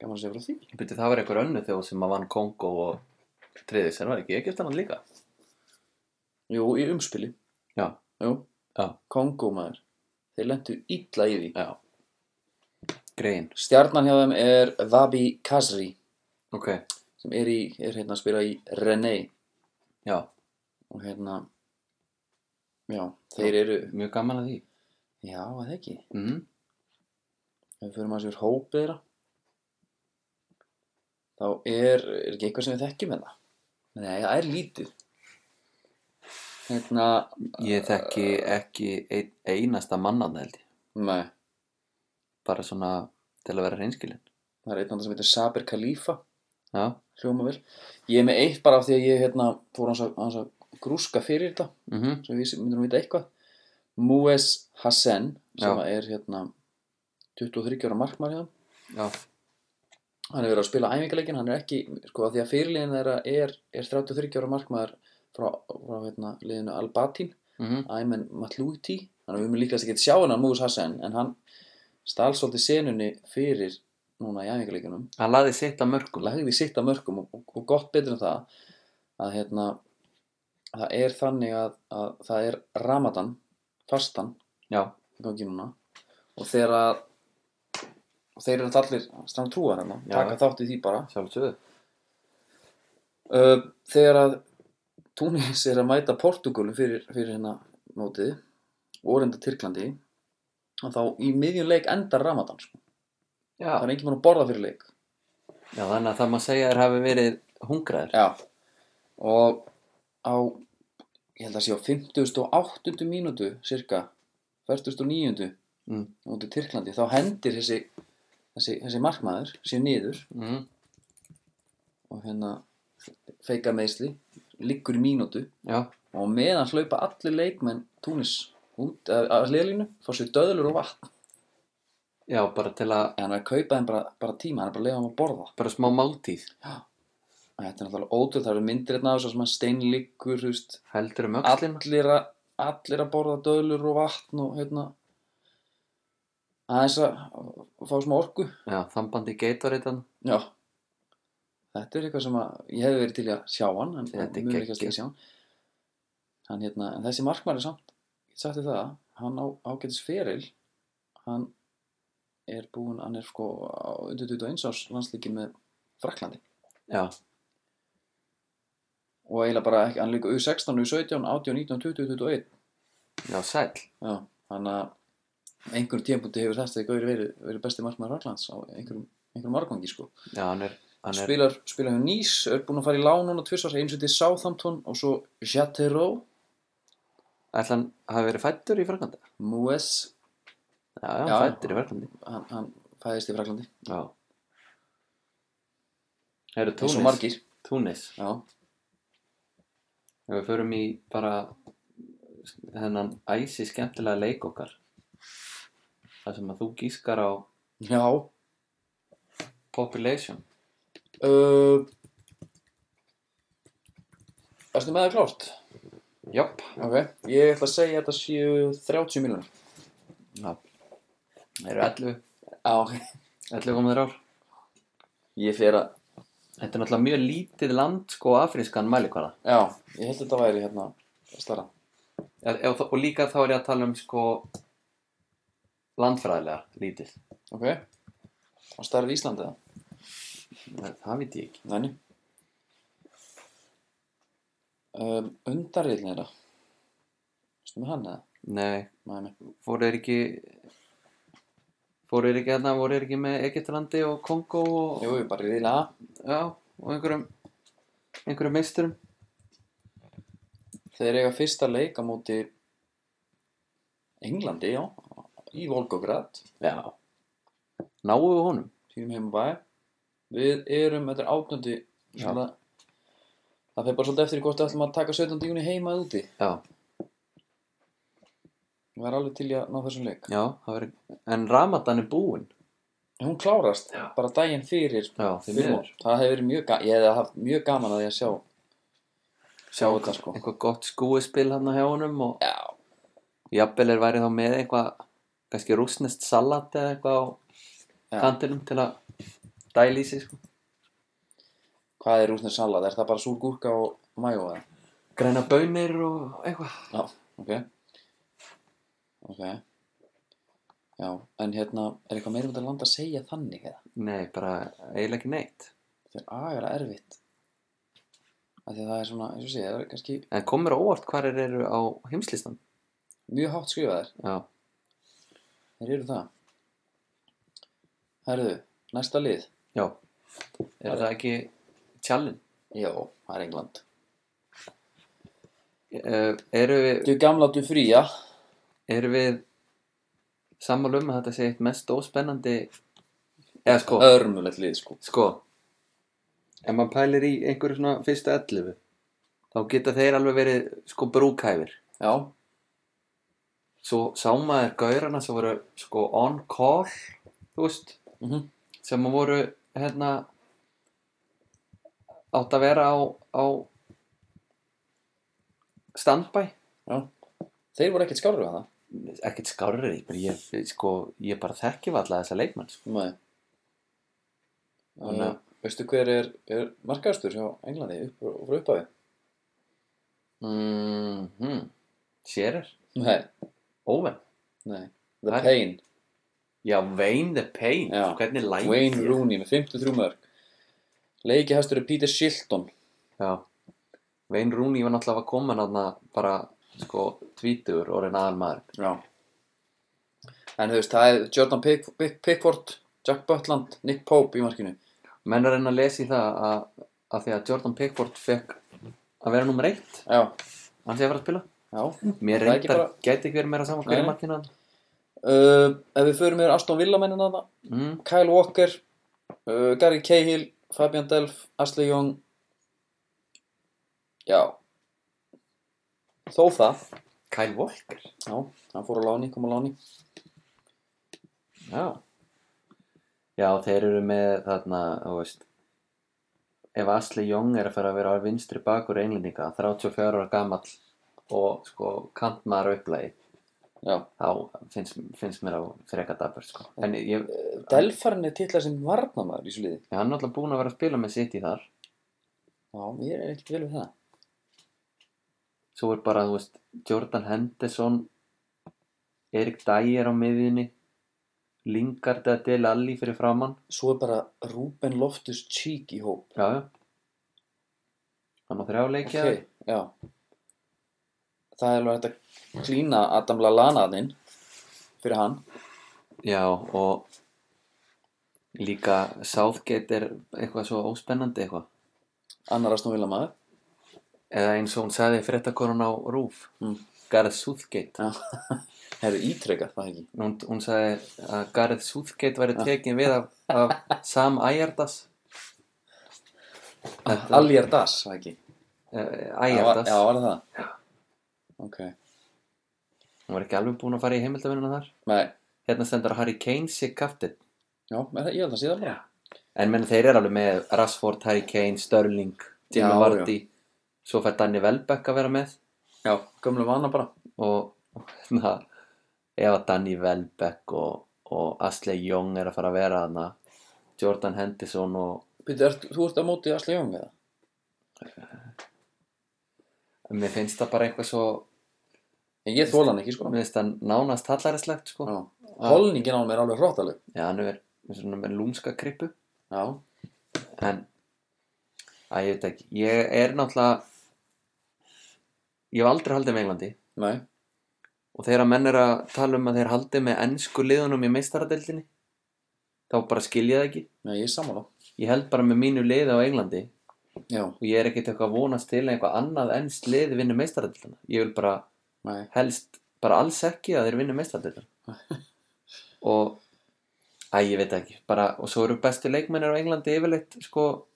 S1: gaman að segja frá því
S2: Ég byrja það var einhver önnu þjóð sem að vann Kongo og triðið sér var ekki Egyptaland líka
S1: jú, í umspili
S2: Já,
S1: jú,
S2: Já.
S1: Kongo maður þeir lendu illa í því
S2: já Grein,
S1: Stjarnan hjá þeim er Vabi Kazri
S2: ok,
S1: sem er, í, er hérna að spila í René
S2: já,
S1: og hérna já, þeir eru
S2: mjög gaman að því
S1: já, að það ekki
S2: mm.
S1: ef við fyrir maður sér hópið þeirra þá er, er ekki eitthvað sem við þekkjum hérna nei, það er lítið hérna
S2: Ég þekki ekki ein, einasta mannan held ég
S1: nei,
S2: Bara svona til að vera reynskilin
S1: það er einn annan sem heitir Saber Khalifa
S2: Já,
S1: hljóma vel, ég er með eitt bara af því að ég hérna fór hans að, hans að grúska fyrir þetta
S2: mhm,
S1: sem við myndum að vita eitthvað Mues Hassan sem
S2: Já.
S1: er hérna 23 ára markmann hérna
S2: já,
S1: hann hefur verið að spila æfingarleikin hann er ekki, sko, af því að fyrirliðin þeirra er, er 33 ára markmaður frá, frá hérna, liðinu Albatin
S2: mhm
S1: Ayman Matluti þannig að við mun líkast ekki að sjá hennan Mues Hassan en hann stál svolítið senunni fyrir núna í æfingarleikunum
S2: Hann laði sitt að mörgum
S1: lagði sitt að mörgum og, og, og gott betur en það að hérna það er þannig að, að það er ramadan, fastan
S2: Já,
S1: í gangi núna og þegar að og þeir eru allir stramt trúar hérna
S2: Já.
S1: taka þátt í því bara
S2: sjálfsögðu
S1: uh, þegar að Túnis er að mæta Portugalu fyrir, fyrir hérna mótið og reynda Tyrklandi að þá í miðjum leik endar Ramadan sko.
S2: Já,
S1: það er engin mann að borða fyrir leik
S2: já, þannig að það maður segja að þeir hafi verið hungraðir
S1: Já. og á ég held að sé á 58. mínútu cirka 49.
S2: mm.
S1: mótið Tyrklandi þá hendir þessi, þessi, þessi markmaður sér niður
S2: Mm.
S1: og hérna feika meðsli, liggur í mínútu
S2: Já,
S1: og á meðan hlaupa allir leikmenn Túnis út af, af liðlínu, fá sér döðlur og vatn
S2: já, bara til
S1: en
S2: að
S1: hann er að kaupa þeim bara, bara tíma, hann er bara að leiða hann að borða
S2: bara smá máltíð
S1: og þetta er náttúrulega ótrúð, það eru myndir hérna af þess að steinliggur, þú veist
S2: heldur um öxlina
S1: allir, a, allir að borða döðlur og vatn og hérna aðeins að fá smá orku
S2: já, þambandi geitareitan
S1: Já Þetta er eitthvað sem að ég hefði verið til í að sjá hann en
S2: Þetta er
S1: þetta mjög ekki að
S2: geggjað.
S1: sjá hann hann hérna, en þessi markmaður er samt ég sagt þér það, hann á ágætis feril hann er búinn, hann er sko á undir 21 árs landslíki með Fraklandi
S2: já,
S1: og eiginlega bara ekki, hann líka U16, U17, 18, 19, 20, 21
S2: já, sæll
S1: Já, hann að einhverjum tímpúti hefur þetta gaur verið, verið besti markmaður Fraklands á einhverjum, einhverjum margangi sko
S2: já, hann er, Hann er,
S1: spilar, spilar hjá Nýs, er búinn að fara í lán núna tvisvar, eins og til Southampton og svo Jatero,
S2: ætla hann hafi verið fættur í Fraklandi?
S1: Mues,
S2: Já, já,
S1: Já.
S2: hann fættur í Fraklandi.
S1: hann, hann fæðist í Fraklandi,
S2: Já. Það eru
S1: eins
S2: Túnis.
S1: og margir.
S2: Túnis.
S1: Já,
S2: Ef við förum í bara þennan æsi skemmtilega leik okkar. Það sem að þú gískar á
S1: já,
S2: population.
S1: uh, erstu með það klárt?
S2: Jopp.
S1: Ok, ég ætla að segja að þetta séu 30 miljonar.
S2: Já. Það eru 11,
S1: Já, ok.
S2: 11 komaður ár.
S1: Ég fer að,
S2: Þetta er náttúrulega mjög lítið land sko á afrískan mælikvarða.
S1: já, ég held að þetta væri hérna, starra.
S2: Er- er- Og líka þá er ég að tala um sko landfræðilega lítið.
S1: Ok, og starrið Íslandi eða?
S2: Það, það veit ég ekki.
S1: Næni. Um, undarriðin þeirra. Vistu með hann eða?
S2: Nei,
S1: Næni.
S2: fóru er ekki fóru er ekki hérna, voru er ekki með Egyptlandi og Kongo og,
S1: Jú, ég bara riðla að.
S2: já, og einhverjum einhverjum meisturum.
S1: Þeir eiga fyrsta leik á móti Englandi, já. Í Volgograd.
S2: Já. Náu við honum.
S1: Týrum heim og bæ. Við erum, þetta er átnöndi.
S2: Já.
S1: Svona, það fer bara svolítið eftir í hvort við ætlum að taka 17. júni heima eða úti.
S2: Já,
S1: Ég var alveg til í að ná þessum leik.
S2: já, það verið, en Ramadan er búinn.
S1: En Hún klárast
S2: Já.
S1: bara daginn fyrir.
S2: Já, því
S1: fyrir
S2: miður.
S1: mót. það hefur verið mjög, ga ég hefði haft mjög gaman að ég að sjá, sjá þetta sko.
S2: Eitthvað gott skúispil hann hjá honum og
S1: Já,
S2: jafnvel er værið þá með eitthvað kannski rúsnest salat eða eitthvað á
S1: Já.
S2: kantinum til að dæla í sig sko.
S1: Hvað er rúsnir salat? Er það bara súr gúrka og majó eða?
S2: græna baunir og eitthvað
S1: Já, ok. Ok. Já, en hérna, er eitthvað meira um þetta land að segja þannig eða?
S2: nei, bara eiginlega ekki neitt
S1: Þetta er agara erfitt. Af því að það er svona, eins og sé, það er kannski
S2: en komur á óvart hvar þeir eru á heimslistan
S1: mjög hátt skrifaðir.
S2: já,
S1: Þeir eru það. Herðu, næsta lið.
S2: já er það ekki tjallin
S1: Já, það er England.
S2: uh, eru við,
S1: Þú gamla, þú fría.
S2: eru við sammála um að þetta sé eitt mest óspennandi eða sko
S1: Örmulegt lið, sko.
S2: Sko Ef maður pælir í einhverju svona fyrsta 11 Þá geta þeir alveg verið sko brúkæfir
S1: Já,
S2: Svo sá maður gaurana sem voru sko on call Þú veist
S1: Mhm.
S2: Sem voru hérna Átt að vera á, á Standby
S1: já. Þeir voru ekkert skárið að það.
S2: Ekkert skárri bara ég, sko, ég bara þekki varla þessa leikmenn sko.
S1: Nei. Eh,
S2: Þannig
S1: Þannig
S2: að-
S1: Veistu hver er, er markaðastur hjá Englandi upp, frá upphafi?
S2: mm -hmm. Sérir,
S1: Nei,
S2: óvenn
S1: nei. The
S2: Það er-
S1: Pain,
S2: Já, Wayne the Pain,
S1: Já.
S2: hvernig lægir
S1: Wayne Rooney með 53 mörg. Leikihæstur er Peter Shilton.
S2: Já, Wayne Rooney var náttúrulega að koma hann bara, sko, tvítur og reyna aðal maður
S1: Já. En þú veist, það er Jordan Pick, Pick, Pickford, Jack Butland, Nick Pope í markinu.
S2: Menn er að reyna að lesa í það að, að því að Jordan Pickford fekk að vera nummer eitt
S1: Já,
S2: hann sé að vera að spila
S1: já.
S2: Mér
S1: Það er ekki
S2: reyndar,
S1: bara-
S2: gæti ekki verið meira saman
S1: Nei,
S2: hverju
S1: nei.
S2: markinu hann
S1: Uh, ef við förum yfir Aston Villa mennina það,
S2: mm,
S1: Kyle Walker, uh, Gary Cahill, Fabian Delph, Ashley Young. Já. Þó það.
S2: Kyle Walker
S1: Já, hann fór á láni, kom á láni.
S2: Já Já, þeir eru með þarna, þú veist Ef Asli Young er að fara að vera á vinstri bakur einlendinga, 34 ára gamall og sko kantmaður á upplægi
S1: Já.
S2: þá finnst, finnst mér á freka dabur sko. en ég,
S1: Delfarinn er titlað sem varnamaður í svo liði.
S2: hann er náttúrulega búinn að vera að spila með City þar
S1: Já, ég er ekkert vel við það.
S2: svo er bara, þú veist, Jordan Henderson Erik Dyer á miðjunni Lingard eða Del Alli fyrir framann
S1: Svo er bara Ruben Loftus Cheek í hóp.
S2: já, já hann á þrjá leikja
S1: já. Það er alveg hægt að klína Adam Lallana þinn fyrir hann.
S2: já, og Líka Southgate er eitthvað svo óspennandi eitthvað.
S1: annar Aston Villa maður
S2: Eða eins og hún sagði fréttakonan á Rúf,
S1: Mm.
S2: Gareth Southgate.
S1: Já. Það eru ítrekkað, það ekki.
S2: Hún, hún sagði að Gareth Southgate
S1: Ah.
S2: væri tekin við af,
S1: (laughs)
S2: af Sam Ayardas. Þetta- eh,
S1: Aljar Das, það ekki.
S2: Ayardas.
S1: Já, var- Ah, já, var það? Já. Ok.
S2: Hún var ekki alveg búin að fara í heimildavinnuna þar.
S1: Nei,
S2: Hérna stendur að Harry Kane sé kaftið.
S1: já, með það, ég held að sé það bara.
S2: En menn þeir eru alveg með Rashford, Harry Kane, Sterling, Jimmy
S1: Já,
S2: Vardy. Svo fær Danny Welbeck að vera með.
S1: Já, gömlu vana bara.
S2: Og hérna, ef að Danny Welbeck og, og Ashley Young er að fara að vera þarna. Jordan Henderson og
S1: Býtu, ert, þú ert á móti Asli Jón eða?
S2: mér finnst það bara eitthvað svo,
S1: En ég þóla hann ekki, sko.
S2: mér finnst það nánast hallaræslegt sko.
S1: Já. Holningin á hann er alveg hróttaleg.
S2: Já, hann er með svona með lúmska krippu.
S1: Já.
S2: en að ég veit ekki, ég er náttúrulega ég hef aldrei haldið með Englandi
S1: Nei.
S2: og þegar að menn er að tala um að þeir haldið með ennsku liðunum í meistaradeildinni þá bara skil ég það ekki
S1: Nei, ég er sammála.
S2: ég held bara með mínu liði á Englandi
S1: Já.
S2: og ég er ekkert eitthvað að vonast til að eitthvað annað ennst liði vinnu meistaradeildina ég vil bara
S1: Nei.
S2: helst bara alls ekki að þeir vinnu meistaradeildina og að ég veit það ekki, bara, og svo eru bestu leikmennir á Englandi yfirleitt sko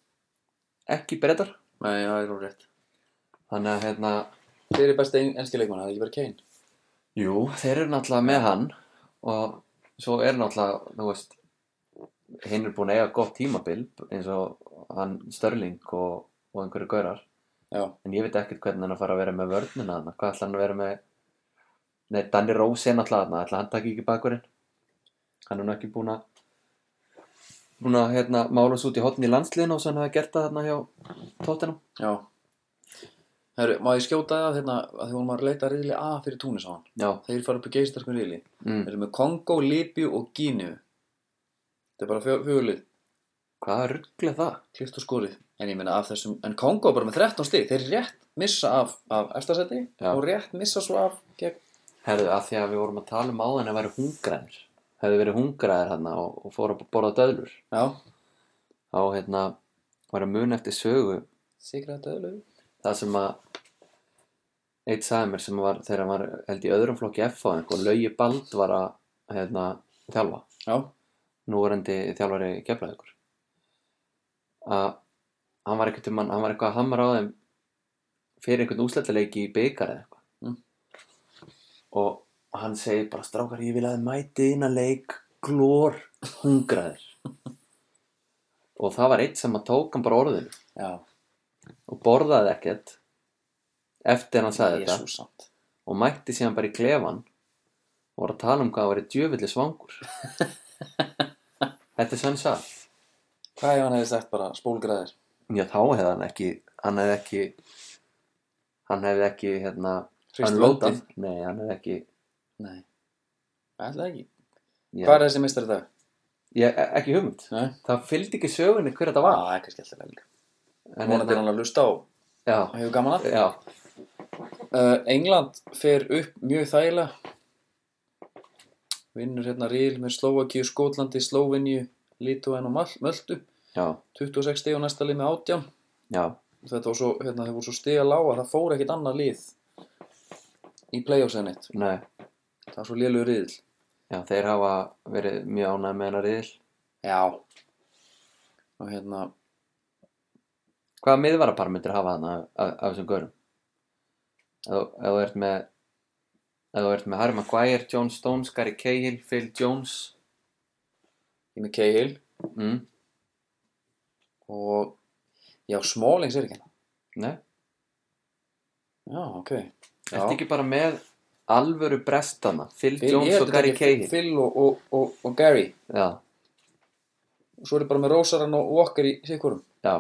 S2: ekki breytar
S1: Nei, já, það er úr rétt.
S2: Þannig að hérna,
S1: Þeir eru besti en- enski leikmann, það er ekki verið Kane.
S2: jú, þeir eru náttúrulega með hann og svo er náttúrulega, þú veist, hinn er búin að eiga gott tímabil eins og hann Störling og, og einhverju gaurar.
S1: Já.
S2: En ég veit ekkert hvernig hann er að fara að vera með vörnina hann, hvað ætla hann að vera með, nei, Danny Rose er náttúrulega hann, ætla hann takk ekki bakurinn. Hann er nú ekki búin að, búin að, hérna, mála svo út í hotn í landsliðinu og svo hann hefði gert það hérna hjá tóttinum.
S1: Já. Herru, má ég skjóta það hérna að því hún var að leita riðli A fyrir Túnis á hann.
S2: Já,
S1: Þeir fara upp í geistarkun riðli.
S2: mm.
S1: Þeir eru með Kongo, Líbíu og Gínu. Þetta er bara fjö- fjögur lið.
S2: hvað ruggla það?
S1: klift og skorið en ég meina af þessum, en Kongo er bara með 13 stig þeir rétt missa af, af efstasæti
S2: Já.
S1: og rétt missa svo af gegn,
S2: Herðu, að því að við vorum að tala um áðan að væri hungraðir hefðu verið hungraðir hérna og, og fóru að borða döðlur
S1: já,
S2: þá hérna var að muna eftir sögu
S1: sigraði döðlegu
S2: það sem að eitt sagði mér sem var þegar hann var held í öðrum flokki F á einhver laugi bald var að hérna þjálfa
S1: já,
S2: nú er endi þjálfari geflaðið að hann var eitthvað, hann var eitthvað að hamra á þeim fyrir einhvern úslættileik í byggar eða eitthvað
S1: Mm.
S2: og hann segir bara strákar ég vil að þið mætið inn að leik glór hungraðir og það var eitt sem að tók hann bara orðinu
S1: já,
S2: og borðaði ekkert eftir hann sagði þetta
S1: jesús samt
S2: og mætti síðan bara í klefan og var að tala um hvað það væri djöfulli
S1: (laughs)
S2: svangur þetta er sann satt
S1: hvað ef hann hefði sagt bara spólgraðir
S2: Já, þá hefði hann ekki, hann hefði ekki, hann hefði ekki, hérna,
S1: Hrist
S2: unloaded.
S1: vöndin.
S2: Nei, hann hefði ekki,
S1: nei, alltaf ekki
S2: já,
S1: hvað er þessi meistar í dag?
S2: ég, ekki hugmynd.
S1: Nei.
S2: Það fylgdi ekki sögunni hver þetta
S1: Á,
S2: var.
S1: það er kannski alltaf vel
S2: En
S1: Ah, vonandi er hann að lusta og
S2: já,
S1: hefur gaman að
S2: já,
S1: uh, England fer upp mjög þægilega vinnur hérna Ríl með Slovakíu, Skotlandi, Slóvinju Lítúen og Mal- Möltu
S2: já,
S1: 26 stig og næsta lið með 18
S2: já,
S1: þetta var svo, hérna, þeir voru svo stiga lága það fór ekkert annað lið í playoffsinn eitt,
S2: nei,
S1: það var svo lélugur riðil
S2: já, þeir hafa verið mjög ánægð með hennar riðil.
S1: já og hérna,
S2: Hvaða miðvarapar myndir hafa hann af, af, af þessum görum? Ef þú- ef þú ert með, ef þú ert með Harry Maguire, John Stones, Gary Cahill, Phil Jones,
S1: ég með Cahill
S2: mm,
S1: og já, Smallings er ekki hérna
S2: nei,
S1: já, ok já.
S2: Ertu ekki bara með alvöru brestana? Phil,
S1: Phil- ég
S2: Jones
S1: held
S2: og
S1: þetta
S2: Gary
S1: ekki
S2: Cahill?
S1: Phil og, og, og, og Gary
S2: Já,
S1: og svo er ég bara með Rosaran og Walker í sikkurum
S2: já,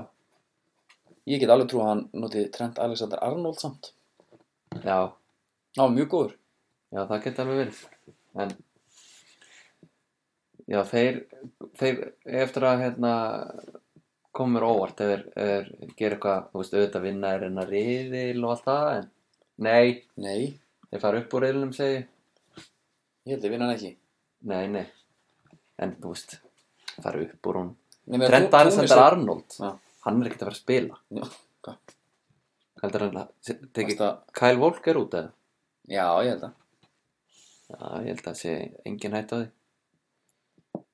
S1: ég get alveg trú að hann notið Trent Alexander Arnold samt
S2: já,
S1: já, mjög góður
S2: já, það geti alveg verið. En, já, þeir, þeir eftir að, hérna, komur óvart ef þeir ef þeir gera eitthvað, þú veist, auðvitað vinna er en að riðil og allt það, en nei,
S1: nei,
S2: þeir fara upp úr riðilum, segi, ég.
S1: ég held ég vinna hann ekki
S2: nei, nei, en, þú veist, fara upp úr hún
S1: Nei, meina,
S2: Trent
S1: Tú-
S2: Alexander
S1: Túnis
S2: Arnold
S1: Já.
S2: hann er ekkert að fara að spila
S1: er- Já, hvað?
S2: heldur hann að teki
S1: Varst að-
S2: Kyle Walker út að
S1: Já, ég held að
S2: já, ég held að sé engin hætt á því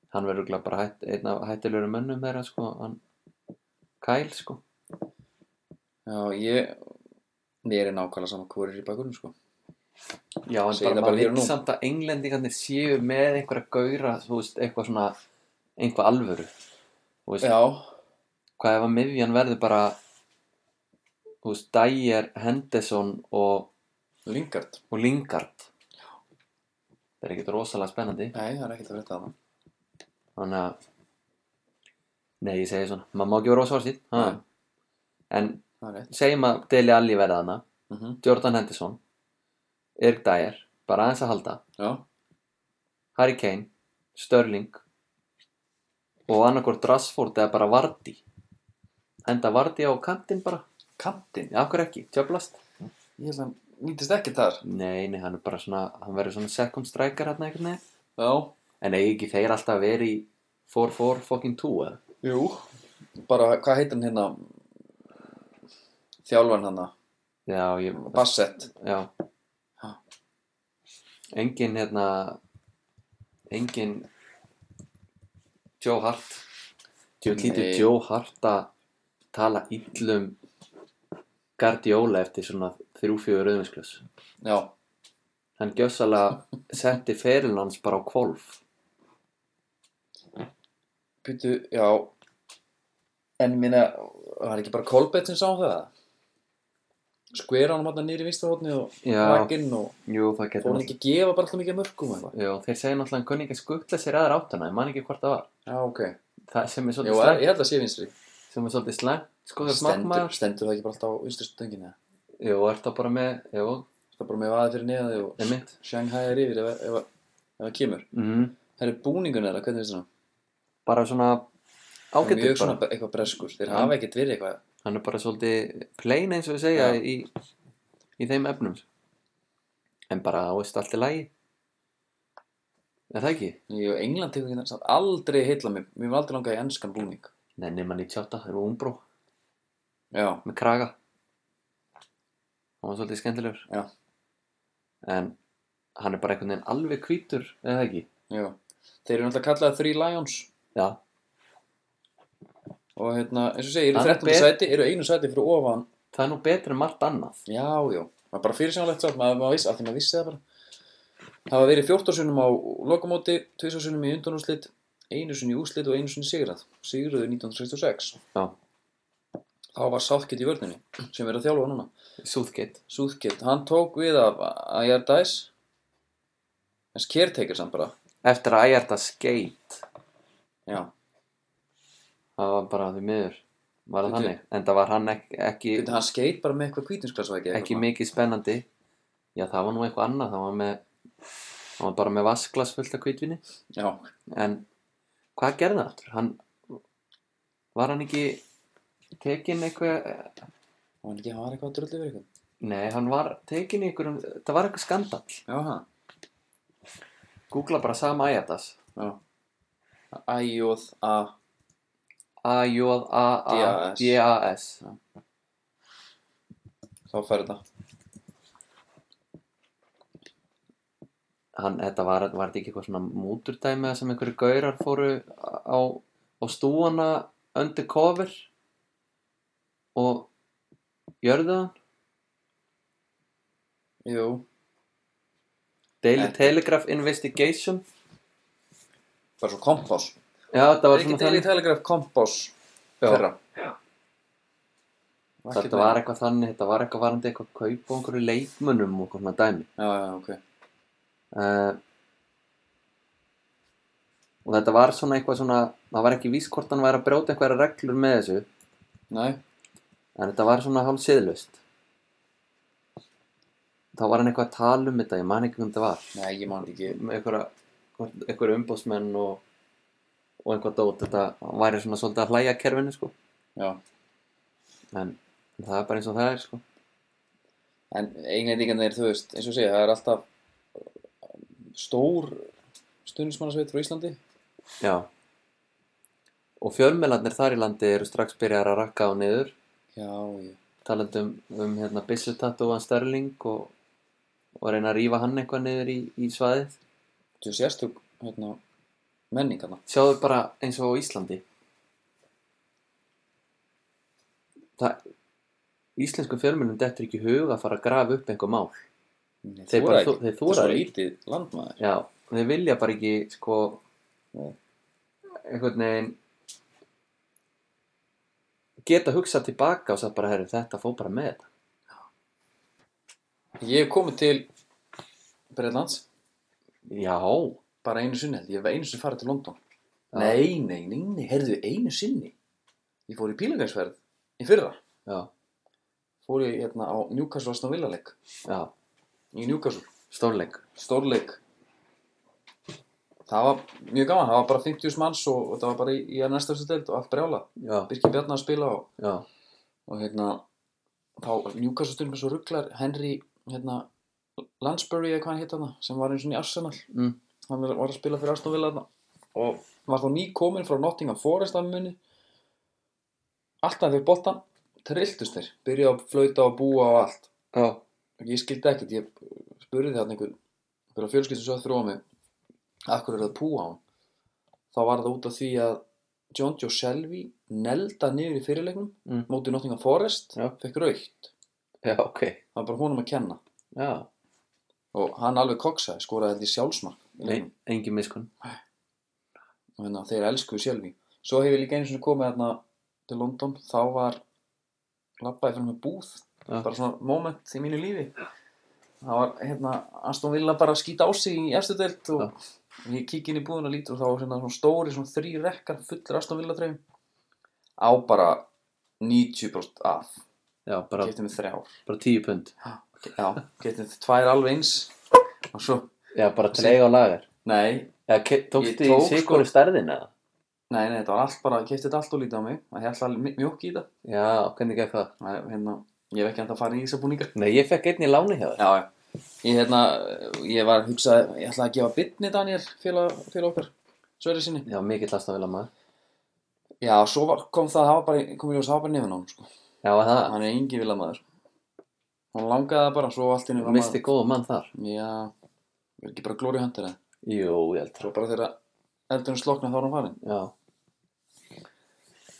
S2: hann verður örugglega bara hætt, einn af hættilegur mönnum þeirra sko hann, Kyle sko
S1: Já, ég Mér er nákvæmlega saman hvað er í bakunum sko
S2: Já, en
S1: Segir
S2: bara
S1: það bara
S2: maður
S1: hér og
S2: veit
S1: nú.
S2: samt að englendingarnir séu með einhverja gauðra, þú veist, eitthvað svona, einhvað alvöru. Þú veist,
S1: Já,
S2: hvað ef að miðjan verður bara, þú veist, Dyer, Henderson og,
S1: Lingard
S2: og Lingard. Það er ekkert rosalega spennandi.
S1: Nei, það er ekkert að frétta það
S2: Þannig að, nei, ég segi svona, maður má ekki vera rosalega
S1: Nei.
S2: sítt. En
S1: Það er rétt
S2: segjum að Deli Alli verða þarna,
S1: mm
S2: Jordan Henderson, Erik Dyer, bara aðeins að halda.
S1: Já,
S2: Harry Kane, Sterling og annarkort Rashford eða bara Vardy henda Vardy á kantinn bara
S1: kantinn
S2: já, okkur ekki, tjöflast
S1: Ég held að hann nýtist ekki þar
S2: nei, nei, hann er bara svona hann verður svona second striker hérna einhvern veginn
S1: Já,
S2: en eigi ekki þeir alltaf verið í 4-4 fucking 2 eða
S1: jú Bara, hvað heitir hann hérna Þjálfan hann
S2: já, ég,
S1: Bassett
S2: já
S1: Ha.
S2: engin hérna engin Joe Hart Joe Tito
S1: Nei.
S2: um Joe Hart að tala illum Guardiola eftir svona þrjú-fjögur rauðvinsklaus
S1: Já,
S2: hann gjössalega setti ferilin hans bara á kvolf
S1: býtu, já En ég minna, var ekki bara Kolbett sem sá um það Skvera hann hann nýri vinstahotni og
S2: Já.
S1: Rakinn og
S2: jú,
S1: Fór
S2: það getur
S1: hann
S2: náttúrulega
S1: ekki að gefa bara alltaf mikið af mörgum eða?
S2: jú, þeir segja náttúrulega hann kunni ekki að skutla sér aðra áttuna ég man ekki hvort það var
S1: Já, ok.
S2: það sem er
S1: Jú,
S2: svolítið
S1: er-
S2: slæmt
S1: ég held að sé vinstri.
S2: sem er svolítið slæmt sko þegar
S1: Stendur,
S2: smakkmaður
S1: stendur það ekki bara alltaf á vinstri stönginu?
S2: jú, er það bara með jú,
S1: Það er bara með aðeins fyrir neðaði og
S2: einmitt
S1: Shanghai er yfir ef, ef, ef, ef það kemur.
S2: mm.
S1: Það eru búningun eða hvernig finnst þér hann?
S2: bara svona
S1: Það er
S2: ágættur
S1: mjög
S2: bara
S1: svona eitthvað breskur. Þeir
S2: Já.
S1: hafa ekkert verið eitthvað.
S2: hann er bara svolítið plain eins og við segja
S1: Já.
S2: í, í þeim efnum en bara áist allt í lagi er það ekki?
S1: Jú, England tekur ekki samt aldrei heilla mig. Mér var aldrei langað í ennskan búning.
S2: Nei, nema 98, það eru umbró
S1: Já,
S2: með kraga hann var svolítið skemmtilegur
S1: Já.
S2: en hann er bara einhvern veginn alveg hvítur eða ekki?
S1: já. Þeir eru náttúrulega kallaðið Three Lions
S2: Já,
S1: og hérna, eins og segja, eru
S2: Hann er
S1: 13.
S2: bet-
S1: sæti, eru einu sæti fyrir ofan.
S2: það er nú betur en margt annað
S1: Já, já. Það er bara fyrirsjónalegt sátt, maður, maður vissi, af því maður vissi það bara. Það var verið 14 sunnum á lokamóti, 2 sunnum í undanúrslit, einu sunn í úrslit og einu sunn í sigrað. Sigruðu 1966.
S2: Já,
S1: Þá var Southgate í vörninni, sem er að þjálfa núna.
S2: Southgate
S1: Southgate, hann tók við af Ayar Dice, en skertekir samt bara.
S2: eftir að ægja þetta skate
S1: Já,
S2: það var bara því miður var það
S1: Bíddu.
S2: þannig, en það var hann ekki, ekki
S1: Bíddu, hann skeit bara með eitthvað kvítinsklasa ekki.
S2: ekki mikið spennandi já það var nú eitthvað annað það var með það var bara með vasklas fullt af kvítvinni
S1: Já,
S2: en hvað gerði það aftur hann var hann ekki tekin eitthvað
S1: og hann ekki, hann var eitthvað að drullu verið eitthvað.
S2: nei hann var tekin í einhverjum það var eitthvað skandall
S1: Já, hann.
S2: googla bara sama Ajatas
S1: Já. Æjóð að,
S2: A-J-A-A-D-A-S
S1: þá færi þetta.
S2: hann þetta var, var þetta ekki eitthvað svona múturdæmi þar sem einhverju gaurar fóru á, á stúana undercover og jörðu hann
S1: Jú,
S2: Daily
S1: Þetta-
S2: Telegraph Investigation
S1: bara svo kompás.
S2: Já, þetta var
S1: ekki
S2: svona
S1: Daily
S2: þannig
S1: Telegraph kompás
S2: Já.
S1: þeirra
S2: Þetta var eitthvað þannig, þetta var eitthvað varandi eitthvað kaup á einhverju leikmönnum og eitthvað svona dæmi
S1: já, já, ok
S2: uh, Og þetta var svona eitthvað svona, það var ekki víst hvort hann væri að brjóta eitthvað reglur með þessu
S1: nei,
S2: En þetta var svona hálf siðlust Þá var hann eitthvað að tala um þetta, ég man ekki hvernig þetta var
S1: nei, ég man ekki
S2: Með einhverja, einhverju umbóðsmenn og, og einhvað dót Þetta hann væri svona svolítið að hlæja að kerfinu sko
S1: já.
S2: En það er bara eins og það er sko
S1: en englendingarnir, þú veist, eins og segja það er alltaf uh, stór stundismannasveit frá Íslandi
S2: Já, og fjölmelarnir þar í landi eru strax byrjar að rakka á niður
S1: já, já,
S2: talandi um, um hérna, byssutatúan Sterling og, og reyna að rífa hann eitthvað niður í, í svaðið
S1: þú sérstök hérna, menningana
S2: sjáðu bara eins og á Íslandi það íslensku fjölmjölum dettur ekki í hug að fara að grafa upp einhver mál
S1: Nei,
S2: Þeir
S1: þora
S2: bara
S1: ekki.
S2: þo- þeir
S1: þetta er
S2: þora
S1: svo
S2: ekki.
S1: lítið landmaður
S2: já, þeir vilja bara ekki sko
S1: Nei.
S2: einhvern veginn geta hugsað tilbaka og sagt bara herri þetta fór bara með þetta
S1: ég hef komið til Breitlands
S2: já,
S1: bara einu sinni held ég, ég hef einu sinni farið til London
S2: Já.
S1: nei, nei, nei, nei, heyrðu einu sinni ég fór í pílagarsverð í fyrra,
S2: já,
S1: fór ég hérna á Newcastle Aston Villa leik
S2: já
S1: í Newcastle,
S2: stórleik
S1: stórleik það var mjög gaman, það var bara 50 manns og, og það var bara í, í að næsta stund og allt brjála
S2: já,
S1: Birki Bjarnar að spila og,
S2: já,
S1: og hérna þá Newcastle stund með svo rugglar Henry, hérna Lansbury eða hvað hann hétt hana, sem var eins og í Arsenal
S2: mm,
S1: hann var var að spila fyrir Aston Villa þarna. og var þá nýkominn frá Nottingham Forest að muni alltaf fyrir boltan, trilltust þeir byrjuði að flauta og búa og allt
S2: já,
S1: og ég skildi ekkert, ég spurði þarna einhver fyrir að fjölskyldum svo að þróa mig akkur er það að púa á hann þá var það út af því að John Joe Shelby nelda niður í fyrirleiknum
S2: Mm.
S1: mótið Nottingham Forest
S2: Já.
S1: fekk raukt,
S2: já, ok
S1: það var bara honum að kenna
S2: já,
S1: og hann alveg koksaði, skoraði held í sjálfsmark í leiknum.
S2: Nei, engin miskunn
S1: og hérna, þeir elskuðu sjálfi svo hef ég líka einu sinni komið hérna til London, þá var labbaði fyrir með búð
S2: Já.
S1: bara svona moment í mínu lífi það var hérna, Aston Villa bara að skýta á sig í eftir deilt og ég kík inn í búðuna lítur og þá var hérna, svona stóri, svona þrý rekkar fullir Aston Villa trefum á bara 90% af
S2: já, bara,
S1: getið með þrjár
S2: bara tíu pund
S1: já, getið með tvær alveg eins og svo,
S2: já, bara til
S1: Sí.
S2: eiga á lagar
S1: nei,
S2: já, ke-
S1: Ég
S2: tókstu í
S1: tók,
S2: sigur
S1: sko-
S2: stærðin eða
S1: nei, nei, þetta var allt bara getið þetta allt og lítið á mig, að ég ætla alveg mjók í þetta
S2: já, hvernig gekk það
S1: Nei, hérna, ég hef ekki hægt að fara í þessa búninga
S2: Nei, ég fekk einn í láni hjá þér
S1: Já, já. ég, hérna, ég var að hugsa ég ætlaði að gefa bitni Daniel félag, félag okkar, Sverri sinni
S2: Já, mikill aðstafila maður
S1: Já, svo var, kom það, það var bara, kom í ljós, það var bara nefn á hann sko.
S2: Já, var það,
S1: hann er engi vilja maður hann langaði það bara, svo allt í
S2: Þú misti góða mann þar
S1: Já, er ekki bara glóri höndir það
S2: Jú, ég held það
S1: svo bara þegar eldurinn slokna þá er hann farin
S2: Já,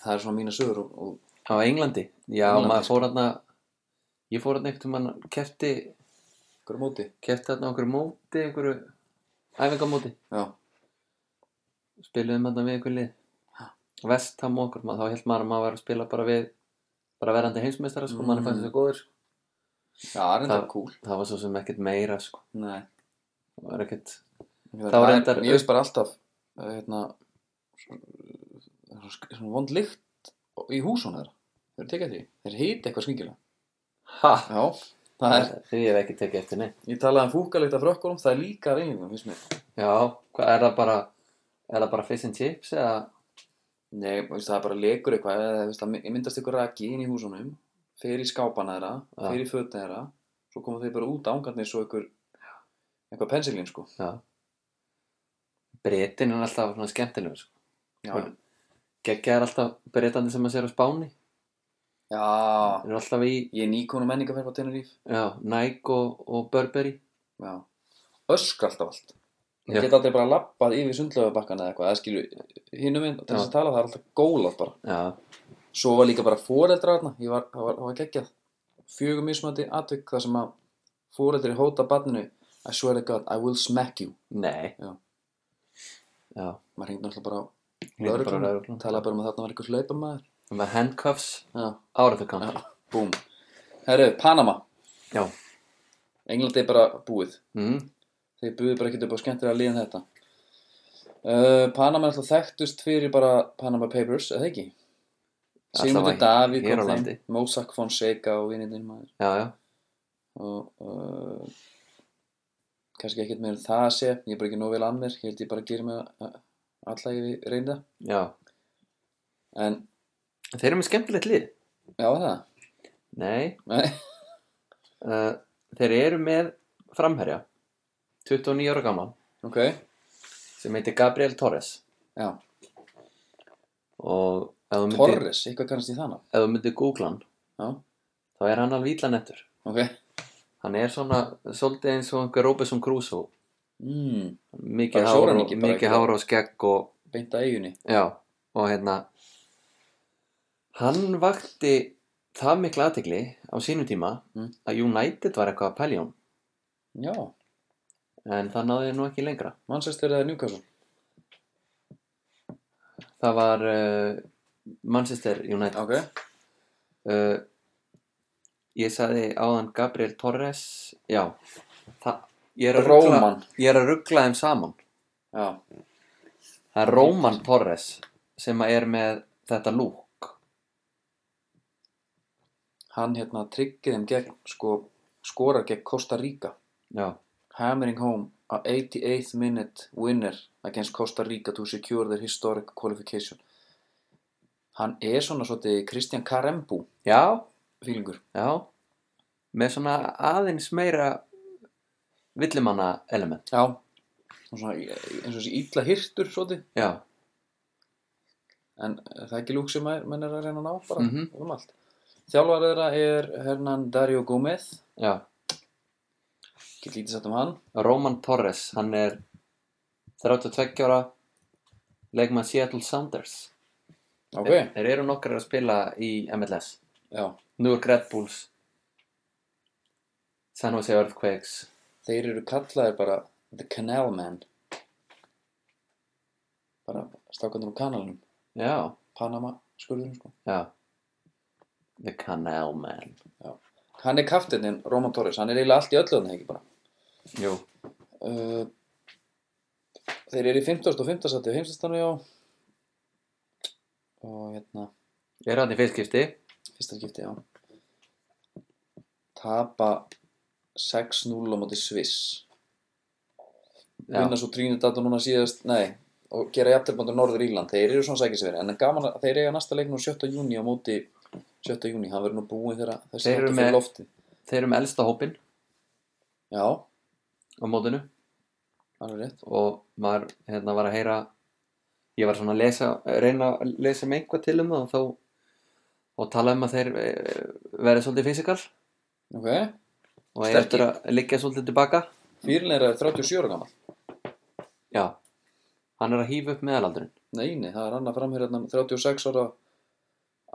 S1: það er svona mína sögur og, og
S2: á Englandi Já,
S1: Englandi,
S2: maður
S1: sko.
S2: fór hann Ég fór hann einhvern mann Kefti,
S1: hverju móti
S2: kefti hann á einhverju móti Einhverju æfingamóti
S1: Já,
S2: Spiluðum hann við einhver lið Vestham og okkur, maður, þá held maður að maður var að spila bara við Bara verandi heimsmeistara, sko, mm. mann er fannst þessu góður sko.
S1: já, það er enda
S2: Það-
S1: cool
S2: Það var svo sem ekkert meira, sko
S1: Nei
S2: Það var ekkert
S1: Það,
S2: Það var
S1: er,
S2: reyndar-
S1: Mér finnst bara alltaf eh, hérna, svona, svona vond lykt í húsum þeirra Þeir eru tekið því, þeir hýti eitthvað skingilega
S2: Ha,
S1: Já, það er,
S2: því ég hef ekki tekið eftir neitt
S1: ég talaði um fúkalykt af frökkunum, það er líka reyningum, finnst mér
S2: Já, hvað er það bara er það bara fish and chips eða
S1: Nei, þú veist, það er bara lekur eitthvað eða, þú veist, það my- myndast eitthvað raki inn í húsunum fyrir skápana þeirra,
S2: Já.
S1: fyrir fötna þeirra svo koma þeir bara út ángarnir svo eitthvað eitthvað pensilín, sko
S2: já. Bretin er alltaf svona skemmtilegur sko.
S1: Já,
S2: Og Geggja er alltaf bretandi sem að sér á Spáni
S1: já.
S2: er alltaf í
S1: ég er nýkon og menningaferð á Teneríf
S2: já, Nike og, og Burberry
S1: Já. Öskra alltaf allt
S2: Já.
S1: Ég get aldrei bara lappað yfir sundlöfabakkan eða eitthvað, það skilur hinu minn til þess að tala, það er alltaf gólað bara.
S2: Já,
S1: Svo var líka bara foreldra þarna, ég var, það var, það var geggjað. Fjögur mismöndi atvik þar sem að foreldri hóta barninu, I swear to God, I will smack you.
S2: nei
S1: Já.
S2: Já,
S1: Maður hengdi náttúrulega bara á
S2: hringdu bara á
S1: lögregluna,
S2: lögregluna.
S1: talaði bara um að þarna var eitthvað hlaupamaður.
S2: Með handcuffs
S1: Já,
S2: áraðukamp Já,
S1: búm. Herru, Panama,
S2: já.
S1: Englandi er bara búið.
S2: Mm.
S1: þeir buðu bara ekkert upp á skemmtilega liðin þetta uh, Panama er alltaf þekktust fyrir bara Panama Papers, eða ekki
S2: Alltaf
S1: Sigmundur
S2: að-
S1: Davíð
S2: hér á
S1: kom
S2: landi.
S1: þeim Mossack Fonseca og vinnindin maður
S2: já, já,
S1: og uh, kannski ekkert meira en það að segja ég er bara ekki nóg vel að mér, ég held ég bara að gera mig að- alla ég reynda
S2: já
S1: en,
S2: Þeir eru með skemmtilegt lið
S1: já er það
S2: Nei, (laughs)
S1: Nei.
S2: uh, þeir eru með framherja 29 ára gaman
S1: ok,
S2: sem heitir Gabriel Torres
S1: já,
S2: og ef þú myndir,
S1: Torres, eitthvað kannast í þannig
S2: ef þú myndir googla hann
S1: Já,
S2: þá er hann alveg illanettur
S1: ok
S2: hann er svona, svolítið eins og einhver Robinson Crusoe
S1: mm,
S2: mikið
S1: Bara
S2: hár og,
S1: sjóræningi, bara
S2: mikið
S1: eitthvað.
S2: hár og skegg og
S1: Beint að eigunni
S2: Já, og hérna hann vakti það mikla aðtegli á sínum tíma
S1: Mm.
S2: að United var eitthvað að pælja hún
S1: Já,
S2: en það náði nú ekki lengra
S1: Manchester eða Newcastle
S2: það var uh, Manchester United
S1: Ok,
S2: uh, ég sagði áðan Gabriel Torres já, það, ég er að ruggla
S1: Róman.
S2: ég er að ruggla þeim saman
S1: já,
S2: það er Róman Torres sem að er með þetta lúk
S1: hann hérna tryggir þeim gegn sko, skorar gegn Costa Rica
S2: já,
S1: hammering home a 88th minute winner against Costa Rica to secure their historic qualification hann er svona svolítið Kristján Karembu
S2: já
S1: fílingur
S2: Já, með svona aðeins meira villimanna element.
S1: já Og svona, eins og þessi ítla hirtur svolítið
S2: Já,
S1: en eh, það er ekki lúk sem er- menn er að reyna að ná bara
S2: Mhm.
S1: um allt þjálfar þeirra er Hernan Dario Gómez
S2: já.
S1: get lítið satt um hann
S2: Roman Torres, hann er 32 ára, leikmann Seattle Sounders.
S1: ok,
S2: Þeir, þeir eru nokkar að spila í MLS.
S1: já
S2: Nú er Red Bulls, San Jose Earthquakes.
S1: Þeir eru kallaðir bara The Canal Man bara stákandur á kanalunum
S2: Já,
S1: Panama skurðurinn sko
S2: já. The Canal Man.
S1: Hann er kaftinninn, Roman Torres, hann er eiginlega allt í öllu þannig ekki bara
S2: Jú,
S1: uh, Þeir eru í 15. og 15. sæti heimsastanu já og hérna,
S2: er hann í fyrstskipti.
S1: fyrsta skipti já Tapa 6-0 á móti Sviss
S2: Já,
S1: vinna svo Trinidad og núna síðast, nei og gera jafntefnbandur Norður Írland, þeir eru svona sækis verið en gaman að þeir eiga næsta leik nú 7. júni á móti 7. júni, hann verður nú búinn þegar þessi
S2: Þeir eru
S1: þáttur
S2: með-
S1: fyrir lofti
S2: þeir eru með elsta hópin
S1: Já,
S2: á mótinu.
S1: alveg rétt
S2: og maður hérna var að heyra ég var svona að lesa reyna að lesa með einhvað til um það og þá og tala um að þeir eh, verði svolítið fysikal
S1: Ok,
S2: og eigi
S1: Sterkir.
S2: eftir að liggja svolítið tilbaka
S1: fyrirleira er 37 ára gammal
S2: já, hann er að hýfa upp meðalaldurinn
S1: Nei, nei, það er annar framherjarnar 36 ára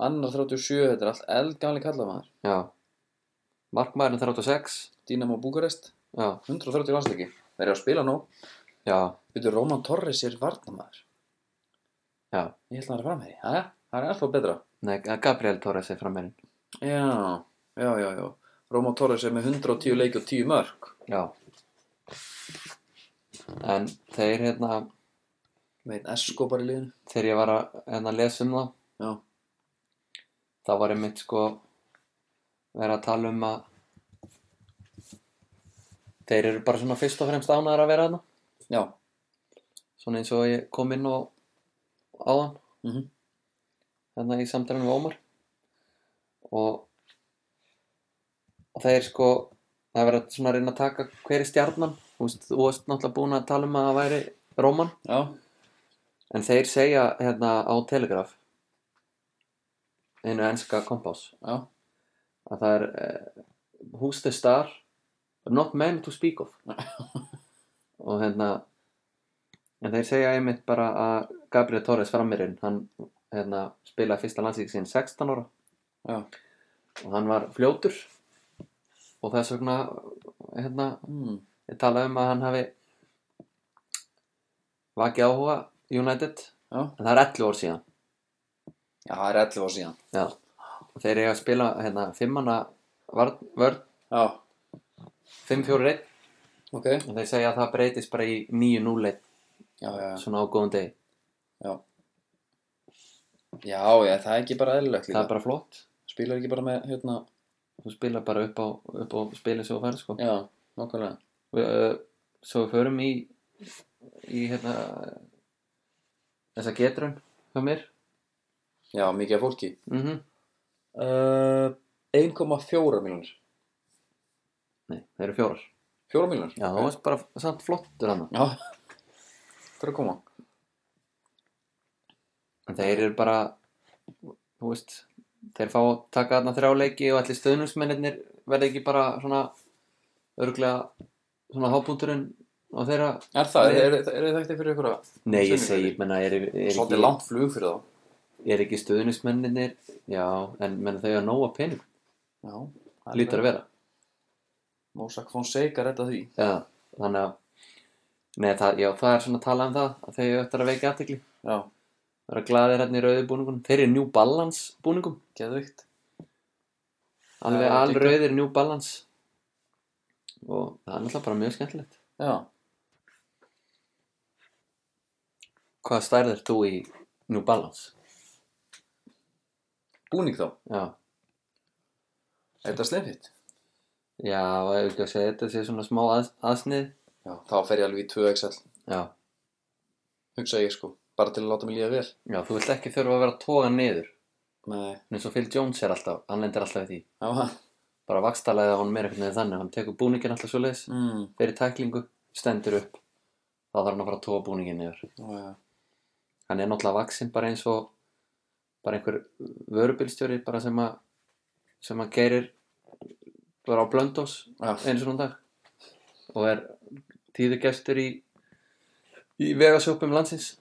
S1: annar 37, þetta er allt eldgamli kallamaður
S2: já, markmaðurinn 36
S1: Dynamo Búkarest,
S2: já,
S1: 130 landsleiki Þeir eru að spila nú,
S2: já,
S1: byrju Róman Torres er varnamaður
S2: já
S1: Ég held að hann er framherji, Jæja, það er alltaf betra
S2: Nei, Gabriel Torres er frammeirinn
S1: Já, já, já, já. Róma Torres er með 110 leiki og 10 mörg.
S2: já en þeir hérna
S1: Veit, Esko bara í liðinu.
S2: þegar ég var að hérna, lesa um það
S1: Já,
S2: það var einmitt sko verið að tala um að þeir eru bara svona fyrst og fremst ánæðar að vera þarna
S1: já,
S2: svona eins og ég kom inn og áðan
S1: Mhm.
S2: þannig að ég samtærum Hérna við Ómar og og þeir sko það er verið að svona reyna að taka hver er stjarnan þú veist, þú veist náttúrulega búin að tala um að það væri Róman
S1: já,
S2: en þeir segja hérna á Telegraf einu enska kompás
S1: já.
S2: að það er uh, who's the star but not men to speak of (laughs) og hérna en þeir segja einmitt bara að Gabriel Torres framirinn hann hérna, spilaði fyrsta landsík sín 16 ára
S1: Já.
S2: og hann var fljótur og þess vegna hérna,
S1: Mm.
S2: ég talaði um að hann hafi vakið áhuga United
S1: Já.
S2: en það er 11 ár síðan
S1: Já, það er 11 ár síðan.
S2: Já. og þeir eiga að spila hérna, fimmana vörn, vörn
S1: Já, ok.
S2: 5-4-1
S1: Já,
S2: En þeir segja að það breytist bara í 9-0-1
S1: já, já.
S2: svona á góðum degi.
S1: Já, já, já það er ekki bara eðlilegt
S2: Það
S1: líka.
S2: er bara flott.
S1: Spilar ekki bara með, hérna,
S2: Þú spilar bara upp á, upp á spilin sem þú færð sko.
S1: já, nokkulega.
S2: Við, uh, svo við förum í, í hérna, þessa getrun hjá mér.
S1: Já, mikið af fólki.
S2: Mm
S1: Uh, 1,4 miljonir.
S2: Nei, þeir eru fjórar.
S1: 4 miljonir?
S2: Já, það varst bara samt flottur hann.
S1: Já, það er að koma.
S2: en þeir eru bara þú veist, þeir fá að taka þarna þrjá leiki og allir stöðnumsmennir verða ekki bara svona örglega svona hábúndurinn á þeirra
S1: Er það,
S2: Nei.
S1: er, er, er það ekkert fyrir ykkur að
S2: Nei, ég
S1: Stöðningsmenn?
S2: segi, ég menna, er, er,
S1: Svolítið
S2: ekki,
S1: langt flug fyrir þá
S2: er ekki stöðnismennir Já, en menna þau að nóa pening
S1: Já, það er
S2: Lítur að vera
S1: Mósak Fonseca redda því
S2: Já, þannig að Nei, það, já, það er svona að tala um það að þau öttar að veikja aðtekli
S1: Já,
S2: vera glaðir hérna í rauðu búningunum þeir eru New Balance búningum
S1: geðvikt
S2: alveg
S1: Já,
S2: all
S1: geggjað.
S2: rauðir New Balance og það er náttúrulega bara mjög skemmtilegt
S1: Já,
S2: hvað stærð er þú í New Balance?
S1: búning þá
S2: Já,
S1: Er þetta slimfitt?
S2: já, og ef ekki að segja þetta sé svona smá að, aðsnið
S1: Já, þá fer ég alveg í 2XL
S2: já,
S1: Hugsa ég sko, bara til að láta mig líða vel
S2: já, þú vilt ekki þurfa að vera að toga niður
S1: Nei,
S2: eins og Phil Jones er alltaf, hann lendir alltaf í því
S1: já, það
S2: bara vakstalega á hann meira einhvern veginn þannig hann tekur búningin alltaf svo leiðis
S1: (laughs) mm.
S2: fyrir tæklingu, stendur upp þá þarf hann að fara að toga búningin niður
S1: já, já.
S2: hann er náttúrulega vaksinn bara eins og bara einhver vörubilstjóri bara sem að sem að gerir bara á blöndós
S1: Já.
S2: eins og dag og er tíðugestur í í vegasjópum landsins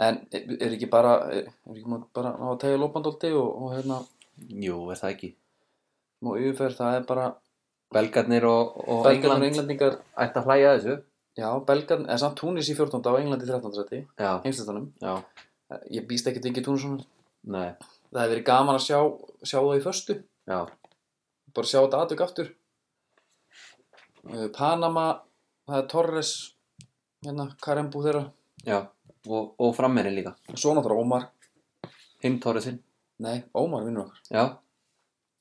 S1: En er, er ekki bara Er er ekki maður bara á að tegja lópandóldi og, og hérna
S2: Jú, er það ekki
S1: Nú yfirferð, það er bara
S2: Belgarnir og, og
S1: Belgar
S2: England
S1: og Englandingar
S2: ætti að hlæja að þessu
S1: Já, Belgar, en samt Túnis í 14. og Englandi í 13. sæti
S2: Já,
S1: Heimslistanum
S2: já,
S1: Ég býst ekki til Ingi Túnisson
S2: nei,
S1: Það hefði verið gaman að sjá, sjá það í föstu
S2: já,
S1: bara sjá þetta aðtök aftur Eh, Panama það er Torres hérna, Karembú þeirra
S2: já og, og frammerin líka
S1: svo náttúrulega Ómar,
S2: Hinn Tóri sinn,
S1: nei, Ómar vinnur okkar
S2: já,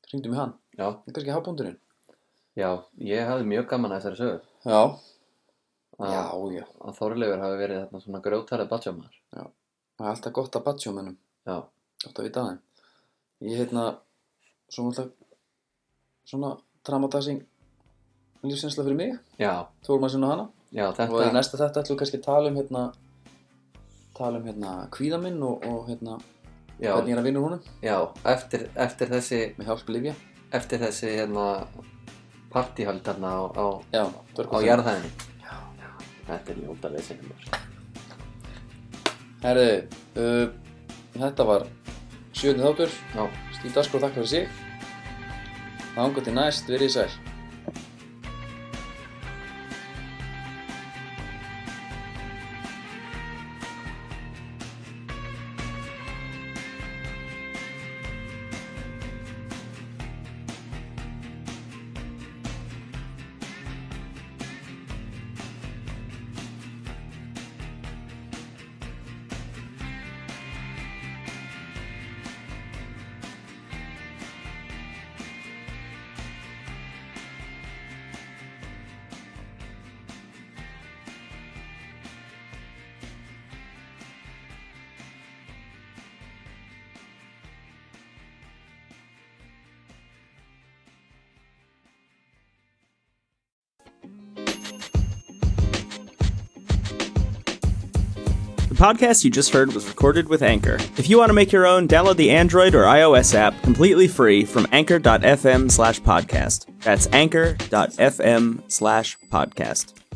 S1: hringdu mig hann,
S2: já,
S1: það er kannski hafbúndurinn
S2: já Ég hafði mjög gaman að þessari sögur
S1: já,
S2: að,
S1: já, já
S2: að Þorleifur hafi verið þarna svona grjótarið batjómaður
S1: það er alltaf gott að batja um hennum
S2: Já,
S1: gott að vita það ég heitna svona alltaf svona traumatizing lífsinsla fyrir mig,
S2: já,
S1: tórum að sinna hana
S2: já,
S1: og í
S2: þetta
S1: næsta þetta ætlum við kannski að tala um hérna tala um hérna kvíða minn og, og hérna hvernig
S2: já,
S1: ég er að vinna úr honum
S2: já, eftir, eftir þessi
S1: með hjálp Livja
S2: eftir þessi hérna partíhöld þarna á, á,
S1: Já,
S2: á jarðhæðinni Þetta er ljóta lesinum
S1: Herðu, uh, þetta var sjöndi þáttur,
S2: Já,
S1: Stíf Daskóð þakka fyrir sig. Þángu til næst, verið í sæl.
S4: The podcast you just heard was recorded with Anchor. If you want to make your own, download the Android or iOS app completely free from anchor.fm slash podcast. That's anchor.fm slash podcast.